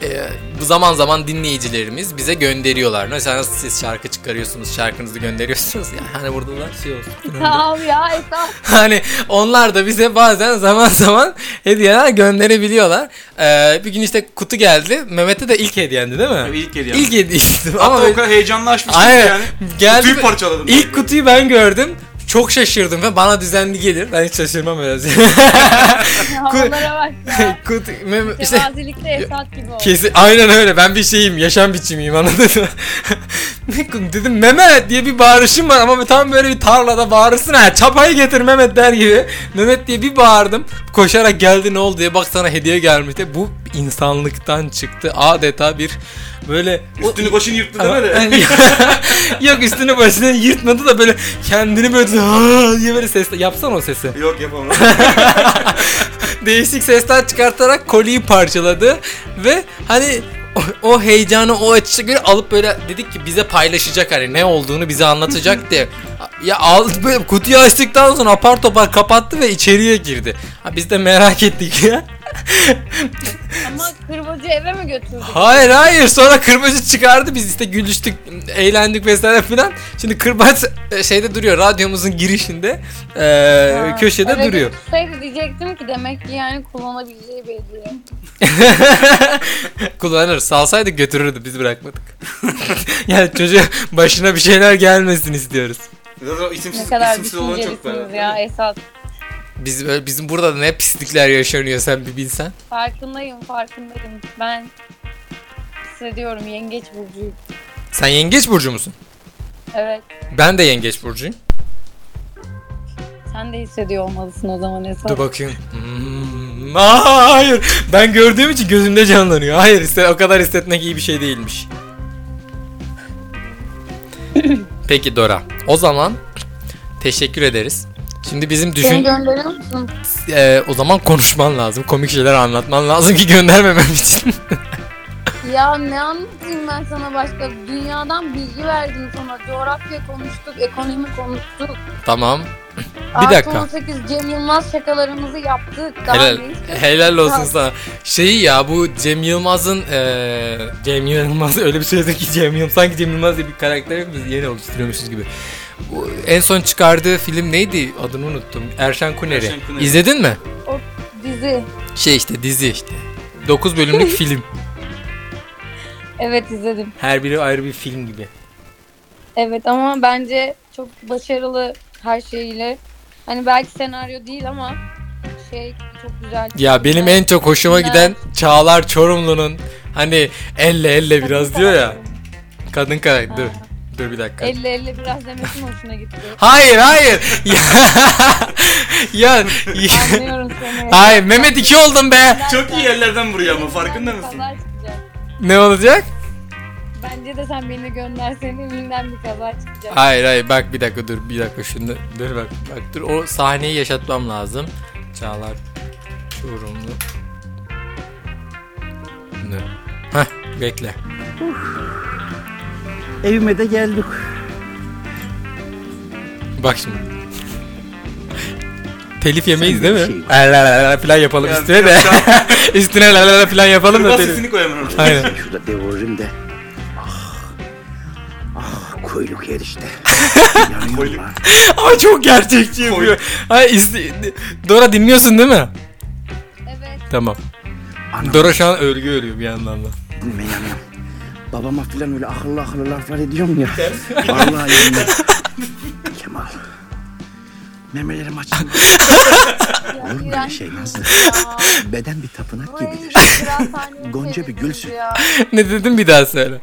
S1: bu zaman zaman dinleyicilerimiz bize gönderiyorlar. Mesela nasıl siz şarkı çıkarıyorsunuz, şarkınızı gönderiyorsunuz ya. Hani buradalar şey olsun.
S4: Sağ ol ya Esat.
S1: Hani onlar da bize bazen zaman zaman hediyeler gönderebiliyorlar. Ee, bir gün işte kutu geldi. Mehmet'e de ilk hediyendi değil mi?
S2: Tabii ilk hediye.
S1: İlk hediyeydi.
S2: Hatta
S1: Ama
S2: o
S1: böyle-
S2: kadar heyecanlı açmıştım ki
S1: Aynen.
S2: yani.
S1: Geldi
S2: Kutuyu
S1: ve-
S2: parçaladım.
S1: İlk kutuyu ben gördüm. Çok şaşırdım ve bana düzenli gelir. Ben hiç şaşırmam öyle. şey.
S4: Havalara bak ya.
S1: kutu, Mehmet- işte
S4: Tevazilikte Esat gibi ol.
S1: Kesin aynen öyle. Ben bir şeyim, yaşam biçimiyim anladın mı? Ne- Dedim Mehmet diye bir bağırışım var ama tam böyle bir tarlada bağırırsın ha. Çapayı getir Mehmet der gibi. Mehmet diye bir bağırdım. Koşarak geldi ne oldu diye bak sana hediye gelmişti. Bu insanlıktan çıktı. Adeta bir böyle o-
S2: Üstünü başını yırttı
S1: Ama-
S2: deme de.
S1: Yok üstünü başını yırtmadı da böyle kendini böyle "Aa!" diye böyle ses yapsana o sesi.
S2: Yok yapamam.
S1: Değişik sesler çıkartarak kolyeyi parçaladı ve hani o, o heyecanı o açışı göre alıp böyle dedik ki bize paylaşacak hani ne olduğunu bize anlatacak diye. Ya al, böyle kutuyu açtıktan sonra apar topar kapattı ve içeriye girdi. Ha, biz de merak ettik ya.
S4: Ama kırbacı eve mi götürdük?
S1: Hayır hayır sonra kırbacı çıkardı biz işte gülüştük eğlendik vesaire filan. Şimdi kırbaç e, şeyde duruyor radyomuzun girişinde e,
S4: Ha,
S1: köşede
S4: eve
S1: duruyor.
S4: götürseydi şey diyecektim ki demek ki yani kullanabileceği bir hediye.
S1: Kullanır salsaydık götürürdü biz bırakmadık. yani çocuğa başına bir şeyler gelmesin istiyoruz.
S2: Zaten o isimsiz,
S4: Ne kadar
S2: isimsiz olan çok
S4: düşüncelisiniz
S2: fena.
S4: ya esas.
S1: Biz böyle- bizim burada da ne pislikler yaşanıyor sen bir bilsen.
S4: Farkındayım farkındayım. Ben hissediyorum yengeç burcuyum.
S1: Sen yengeç burcu musun?
S4: Evet.
S1: Ben de yengeç burcuyum.
S4: Sen de hissediyor olmalısın o zaman esas.
S1: Dur bakayım. Hmm, aa, hayır. Ben gördüğüm için gözümde canlanıyor. Hayır işte o kadar hissetmek iyi bir şey değilmiş. Peki Dora. O zaman teşekkür ederiz. Şimdi bizim
S4: Beni
S1: düşün
S4: gönderiyor musun?
S1: Ee, o zaman konuşman lazım. Komik şeyler anlatman lazım ki göndermemem için.
S4: Ya ne anlatayım ben sana başka? Dünyadan bilgi verdim sana. Coğrafya konuştuk, ekonomi konuştuk.
S1: tamam.
S4: Artı
S1: dakika.
S4: 18 Cem Yılmaz şakalarımızı yaptık. Daha
S1: Helal,
S4: ne istiyorsun?
S1: helal olsun
S4: Ha.
S1: sana. Şeyi ya bu Cem Yılmaz'ın eee Cem Yılmaz öyle bir söyledik ki Cem Yılmaz sanki Cem Yılmaz diye bir karakter yok biz yeni oluşturuyormuşuz gibi. Bu, en son çıkardığı film neydi? Adını unuttum. Erşen Kuneri.
S2: Erşen Kuneri.
S1: İzledin mi?
S4: Dizi.
S1: Şey işte dizi işte. 9 bölümlük film.
S4: Evet izledim.
S1: Her biri ayrı bir film gibi.
S4: Evet ama bence çok başarılı her şeyiyle. Hani belki senaryo değil ama şey çok güzel.
S1: Ya benim en çok hoşuma
S4: Bunlar-
S1: giden Çağlar Çorumlu'nun hani elle elle biraz diyor ya. Kadın karakter. Dur. Dur bir dakika.
S4: Elle elle biraz demesi mi hoşuna gitti.
S1: Hayır hayır. ya. ya.
S4: Anlıyorum seni.
S1: hayır Mehmet iki oldum be.
S2: Çok iyi yerlerden vuruyor ama farkında
S4: Benden
S2: mısın?
S4: kaza çıkacak.
S1: Ne olacak?
S4: Bence de sen beni göndersen elinden bir kaza çıkacak.
S1: Hayır hayır bak bir dakika dur bir dakika şunu dur bak bak dur o sahneyi yaşatmam lazım. Çağlar Çorumlu. Dur. Hah bekle.
S7: Evime de geldik.
S1: Bak şimdi. Telif yemeyiz
S7: Sen
S1: değil
S7: de
S1: mi?
S7: bir şey yok.
S1: Ay, la, la, la, falan yapalım
S2: Ya,
S1: üstüne de. üstüne la la la falan yapalım da
S2: Kırbaç
S1: telif.
S2: sesini koyamıyorum.
S1: Aynen.
S7: Şurada devoririm de. Ah. Ah koyluk erişte. Yanıyorum
S2: Koyluk.
S7: ha.
S1: Ama çok gerçekçi yapıyor. Ay, isti- Dora dinliyorsun değil mi?
S4: Evet.
S1: Tamam.
S7: Anam,
S1: Dora şu an örgü örüyor bir yandan da.
S7: anneme yanıyorum. Babama filan öyle akıllı akıllı laflar ediyorum ya. Vallahi yemin. Kemal. Memelerim açıldı. Olur böyle şey nasıl? Beden bir tapınak gibidir. Gonca bir gülsün.
S1: ne dedim bir daha söyle.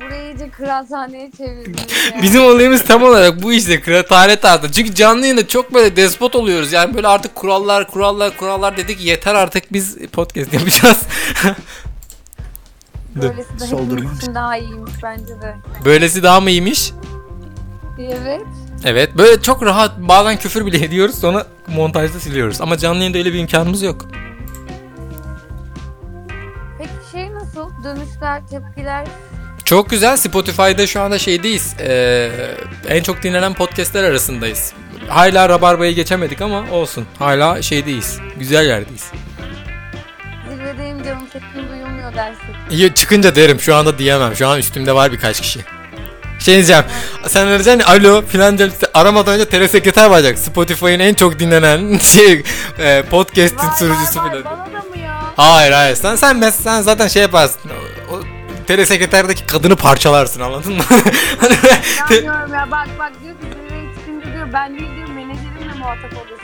S4: Burayı iyice kıraathaneye çevirdiniz ya.
S1: Bizim olayımız tam olarak bu işte kıraathane tarzı. Çünkü canlı yayında çok böyle despot oluyoruz. Yani böyle artık kurallar kurallar kurallar dedik yeter artık biz podcast yapacağız.
S4: Böylesi de
S7: Soldurmam.
S4: hepimiz için daha iyiymiş bence de.
S1: Böylesi daha mı iyiymiş?
S4: Evet.
S1: Evet böyle çok rahat bazen küfür bile ediyoruz sonra montajda siliyoruz. Ama canlı yayında öyle bir imkanımız yok.
S4: Peki şey nasıl? Dönüşler, tepkiler.
S1: Çok güzel Spotify'da şu anda şeydeyiz. Ee, en çok dinlenen podcastler arasındayız. Hala Rabarba'yı geçemedik ama olsun. Hala şeydeyiz. Güzel yerdeyiz.
S4: Zirvedeyim canım sesim duyulmuyor dersin.
S1: İyi çıkınca derim şu anda diyemem. Şu an üstümde var birkaç kişi. Şey diyeceğim. Sen arayacaksın ya, alo filan diyeceğim. İşte Aramadan önce telesekreter varacak. Spotify'ın en çok dinlenen şey e, podcast'in sürücüsü
S4: vay,
S1: filan.
S4: Bana da mı ya?
S1: Hayır hayır sen sen mes- sen zaten şey yaparsın. O, o telesekreterdeki kadını parçalarsın anladın mı? Hani böyle te-
S4: Anlıyorum ya bak bak diyor ki zirveye çıkınca diyor ben değil diyor menajerimle muhatap olursun.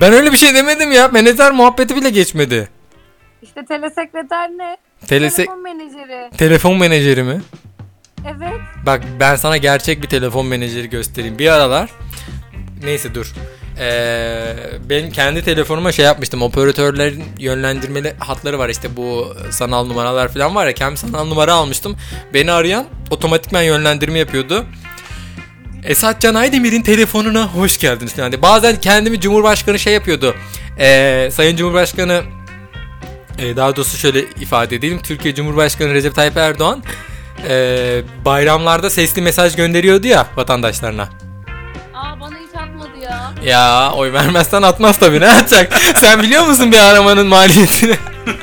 S1: ben öyle bir şey demedim ya. Menajer muhabbeti bile geçmedi.
S4: İşte telesekreter ne?
S1: Telese
S4: Telefon menajeri.
S1: telefon menajeri mi?
S4: Evet.
S1: Bak ben sana gerçek bir telefon menajeri göstereyim. Bir aralar neyse dur. Ee, benim kendi telefonuma şey yapmıştım. Operatörlerin yönlendirmeli hatları var. işte bu sanal numaralar falan var ya. Kendi sanal numara almıştım. Beni arayan otomatikman yönlendirme yapıyordu. Esat Can Aydemir'in telefonuna hoş geldiniz. Yani bazen kendimi Cumhurbaşkanı şey yapıyordu. Ee, Sayın Cumhurbaşkanı e, daha doğrusu şöyle ifade edelim. Türkiye Cumhurbaşkanı Recep Tayyip Erdoğan e, bayramlarda sesli mesaj gönderiyordu ya vatandaşlarına.
S4: Aa bana hiç atmadı ya.
S1: Ya oy vermezsen atmaz tabii ne atacak? Sen biliyor musun bir aramanın maliyetini?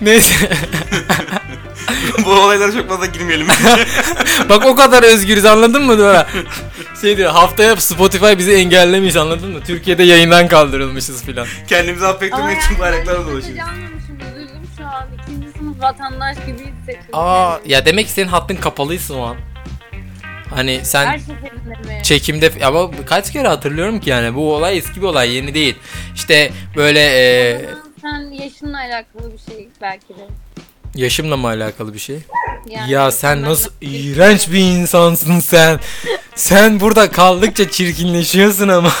S1: Neyse.
S2: Bu olaylara çok fazla girmeyelim.
S1: Bak o kadar özgürüz anladın mı Dora? Şey diyor haftaya Spotify bizi engellemiş anladın mı? Türkiye'de yayından kaldırılmışız filan.
S2: Kendimizi affettirmek için bayraklarla dolaşıyoruz.
S4: Canmamışım üzüldüm şu an. İkinci sınıf vatandaş gibi hissettim.
S1: Aa ya demek ki senin hattın kapalıysa o an. Hani sen
S4: Her seferinde mi?
S1: çekimde ama kaç kere hatırlıyorum ki yani bu olay eski bir olay yeni değil. İşte böyle e,
S4: Sen yaşınla alakalı bir şey belki de.
S1: yaşımla mı alakalı bir şey?
S4: Yani
S1: Ya sen
S4: yaşınla
S1: nasıl
S4: alakalı-
S1: iğrenç bir insansın sen. Sen burada kaldıkça çirkinleşiyorsun ama.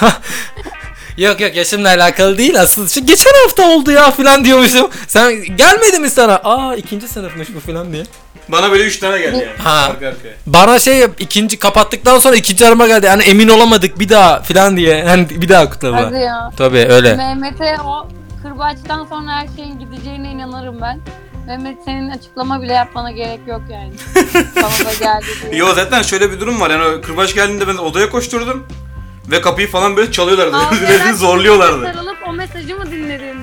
S1: yok yok yaşımla alakalı değil asıl. Şu geçen hafta oldu ya filan diyormuşum. Sen gelmedi mi sana? Aa ikinci sınıfmış bu filan diye.
S2: Bana böyle 3 tane geldi yani.
S1: Ha.
S2: Arka arkaya.
S1: Bana şey yap, ikinci kapattıktan sonra ikinci arama geldi. Yani emin olamadık bir daha filan diye. Hani bir daha
S4: Hadi
S1: kutladılar.
S4: ya.
S1: Tabii öyle.
S4: Mehmet'e o kırbaçtan sonra her şeyin gideceğine inanırım ben. Mehmet senin açıklama bile yapmana gerek yok yani. Sana da geldi diye.
S2: Yo zaten şöyle bir durum var yani o kırbaç geldiğinde ben odaya koşturdum. Ve kapıyı falan böyle çalıyorlardı. Bizi
S4: Ağlayarak
S2: zorluyorlardı.
S4: Sarılıp o mesajı mı dinledin?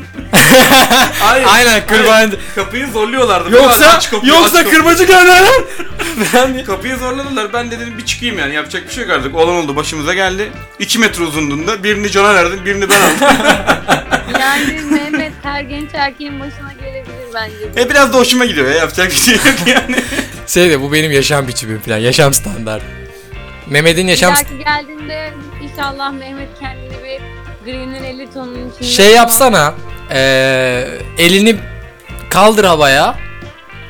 S2: Hayır.
S1: Aynen kırbacı.
S2: Hayır, Kapıyı zorluyorlardı. Böyle
S1: Yoksa
S2: aç kapıyı, aç
S1: yoksa
S2: kapıyı.
S1: kırbacı geldi. Ben
S2: Kapıyı zorladılar. Ben de dedim bir çıkayım yani. Yapacak bir şey yok artık. Olan oldu. Başımıza geldi. 2 metre uzunluğunda. Birini Can'a verdim. Birini ben aldım.
S4: Yani Mehmet her genç erkeğin başına gelebilir bence.
S2: e biraz da hoşuma gidiyor ya. Yapacak bir şey yok yani.
S1: Şey de bu benim yaşam biçimim falan. Yaşam standart. Mehmet'in
S4: Bir
S1: yaşam
S4: dahaki geldiğinde inşallah Mehmet kendini bir Green'in 50 tonunun içinde...
S1: şey yapsana. eee, elini kaldır havaya.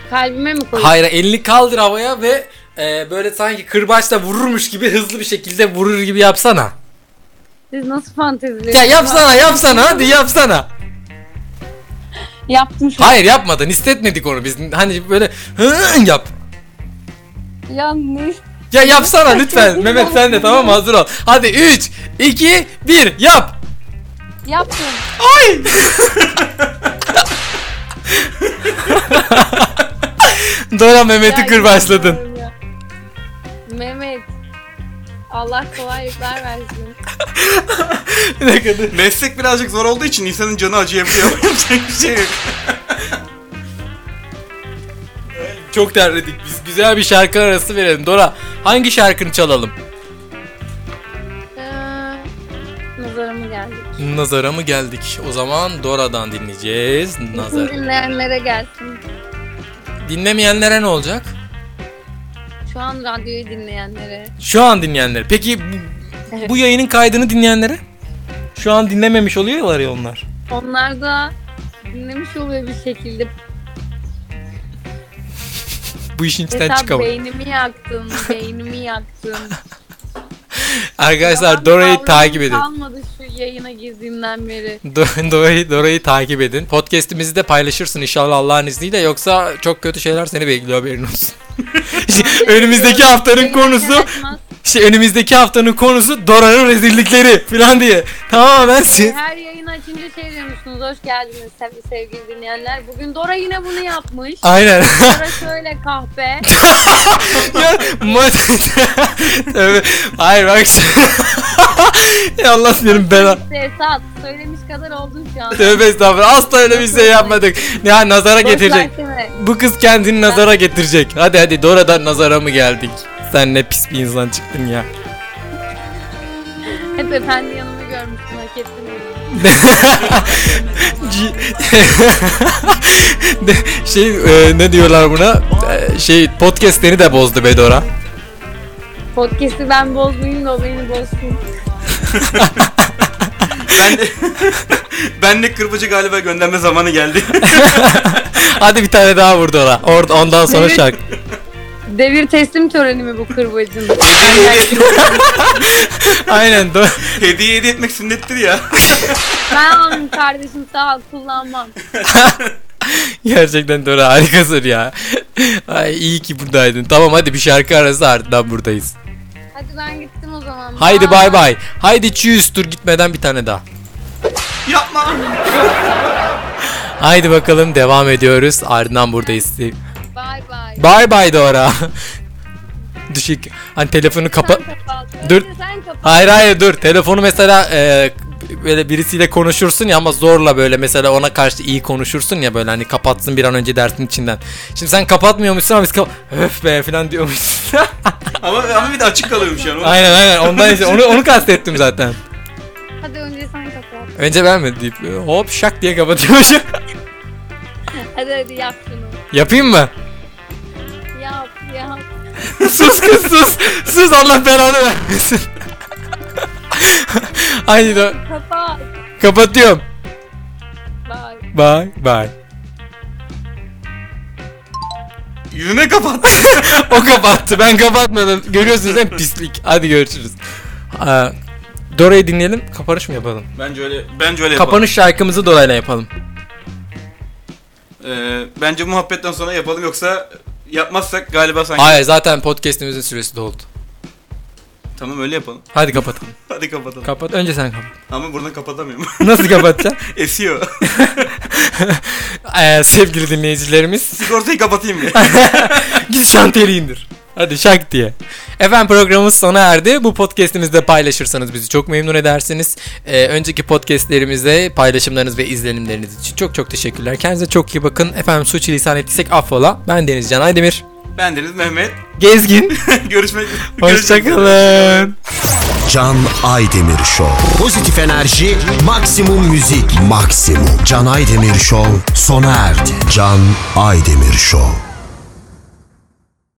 S4: Kalbime mi koyuyorsun?
S1: Hayır, elini kaldır havaya ve eee, böyle sanki kırbaçla vururmuş gibi hızlı bir şekilde vurur gibi yapsana.
S4: Siz nasıl fanteziler?
S1: Ya yapsana, yapsana hadi yapsana.
S4: Yaptım şu an.
S1: Hayır yapmadın. Hissetmedik onu biz. Hani böyle hı yap.
S4: Ya ne?
S1: Ya yapsana lütfen. Mehmet sen de tamam mı? Hazır ol. Hadi 3 2 1 yap.
S4: Yaptım.
S1: Dora Mehmet'i
S4: Ya,
S1: kırbaçladın.
S4: inanmıyorum ya. Mehmet. Allah kolaylıklar versin.
S1: ne kadar
S2: Meslek birazcık zor olduğu için insanın canı acıyabiliyor. Yapacak bir şey yok.
S1: Çok terledik biz. Güzel bir şarkı arası verelim. Dora hangi şarkını çalalım?
S4: Ee, Nazarımı geldi.
S1: Nazara mı geldik? O zaman Dora'dan dinleyeceğiz.
S4: Bütün
S1: Nazar.
S4: dinleyenlere gelsin.
S1: Dinlemeyenlere ne olacak?
S4: Şu an radyoyu dinleyenlere.
S1: Şu an dinleyenlere. Peki bu,
S4: Evet.
S1: bu yayının kaydını dinleyenlere? Şu an dinlememiş oluyorlar ya onlar.
S4: Onlar da dinlemiş oluyor bir şekilde.
S1: Bu işin içinden
S4: Mesela
S1: çıkamıyor.
S4: beynimi yaktım, beynimi yaktım.
S1: Arkadaşlar
S4: Yalan
S1: Dora'yı
S4: kavramım
S1: takip edin.
S4: Kalmadı şu yayına girdiğimden beri.
S1: Do- Dora'yı, Dora'yı takip edin. Podcast'imizi de paylaşırsın inşallah Allah'ın izniyle. Yoksa çok kötü şeyler seni bekliyor haberin olsun. Önümüzdeki haftanın
S4: Beni
S1: konusu
S4: etmez.
S1: İşte önümüzdeki haftanın konusu Dora'nın rezillikleri falan diye. Tamamen siz.
S4: Her yayın açınca şey diyormuşsunuz. Hoş geldiniz sevgili, sevgili dinleyenler. Bugün Dora yine bunu yapmış.
S1: Aynen.
S4: Dora şöyle kahpe.
S1: Ya, ma- Tövbe. Hayır bak. ya Allah senin belanı.
S4: işte Esat söylemiş kadar oldun şu an.
S1: Tövbe estağfurullah. Asla öyle bir şey yapmadık. Ya nazara getirecek.
S4: Boş versene.
S1: Bu kız kendini nazara getirecek. Hadi hadi Dora'dan nazara mı geldik? Sen ne pis bir insan çıktın ya.
S4: Hep efendi yanımı görmüşsün hak ettin.
S1: C- De- şey e, ne diyorlar buna? E, şey podcast'lerini de bozdu be Dora.
S4: Podcast'i ben bozmayayım da o beni bozsun.
S2: Ben de, ben de kırbacı galiba gönderme zamanı geldi.
S1: Hadi bir tane daha vur Dora. Or- ondan sonra
S4: Evet.
S1: şarkı.
S4: Devir teslim töreni mi bu kırbacın?
S1: Aynen Dora.
S2: hediye hediye etmek sünnettir ya.
S4: ben kardeşim sağ ol kullanmam.
S1: Gerçekten Dora harikasın ya. Ay iyi ki buradaydın. Tamam hadi bir şarkı arası ardından buradayız.
S4: Hadi ben gittim o zaman.
S1: Haydi bay bay. Haydi çüz tur gitmeden bir tane daha.
S2: Yapma.
S1: Haydi bakalım devam ediyoruz. Ardından buradayız.
S4: Bay bay.
S1: Bay bay Dora. Düşük. Hani telefonu kapa...
S4: Sen kapat.
S1: Dur.
S4: Sen kapat.
S1: Hayır hayır dur. Telefonu mesela e, böyle birisiyle konuşursun ya ama zorla böyle mesela ona karşı iyi konuşursun ya böyle hani kapatsın bir an önce dersin içinden. Şimdi sen kapatmıyormuşsun ama biz kap- öf be falan diyormuşsun.
S2: Ama, ama bir de açık kalıyormuş yani.
S1: aynen aynen ondan işte onu, onu kastettim zaten.
S4: Hadi önce sen kapat.
S1: Önce ben mi deyip e, hop şak diye kapatıyormuşum.
S4: Hadi hadi yap şunu.
S1: Yapayım mı?
S4: Yap yap.
S1: sus kız sus. Sus Allah belanı vermesin. Haydi dön.
S4: Kapat.
S1: Kapatıyorum.
S4: Bye.
S1: Bye bye.
S2: Yüzüne kapattı.
S1: O kapattı. Ben kapatmadım. Görüyorsunuz değil mi? Pislik. Hadi görüşürüz. Aa, Dora'yı dinleyelim. Kapanış mı yapalım?
S2: Bence öyle. Bence öyle yapalım.
S1: Kapanış şarkımızı Dora'yla yapalım.
S2: Ee, bence muhabbetten sonra yapalım yoksa yapmazsak galiba sanki.
S1: Hayır zaten podcastimizin süresi doldu.
S2: Tamam öyle yapalım.
S1: Hadi kapatalım.
S2: Hadi kapatalım.
S1: Kapat. Önce sen kapat.
S2: Ama buradan kapatamıyorum.
S1: Nasıl kapatacaksın?
S2: Esiyor.
S1: Ee, sevgili dinleyicilerimiz.
S2: Sigortayı kapatayım bir.
S1: Git şantiyeli indir. Hadi şak diye. Efendim programımız sona erdi. Bu podcastimizde paylaşırsanız bizi çok memnun edersiniz. Ee, önceki podcastlerimizde paylaşımlarınız ve izlenimleriniz için çok çok teşekkürler. Kendinize çok iyi bakın. Efendim suçu ettiysek affola. Ben Deniz Can Aydemir.
S2: ben Deniz Mehmet.
S1: Gezgin.
S2: Görüşmek görüşmek üzere.
S1: Hoşçakalın.
S3: Can Aydemir Show. Pozitif enerji, maksimum müzik, maksimum. Can Aydemir Show sona erdi. Can Aydemir Show.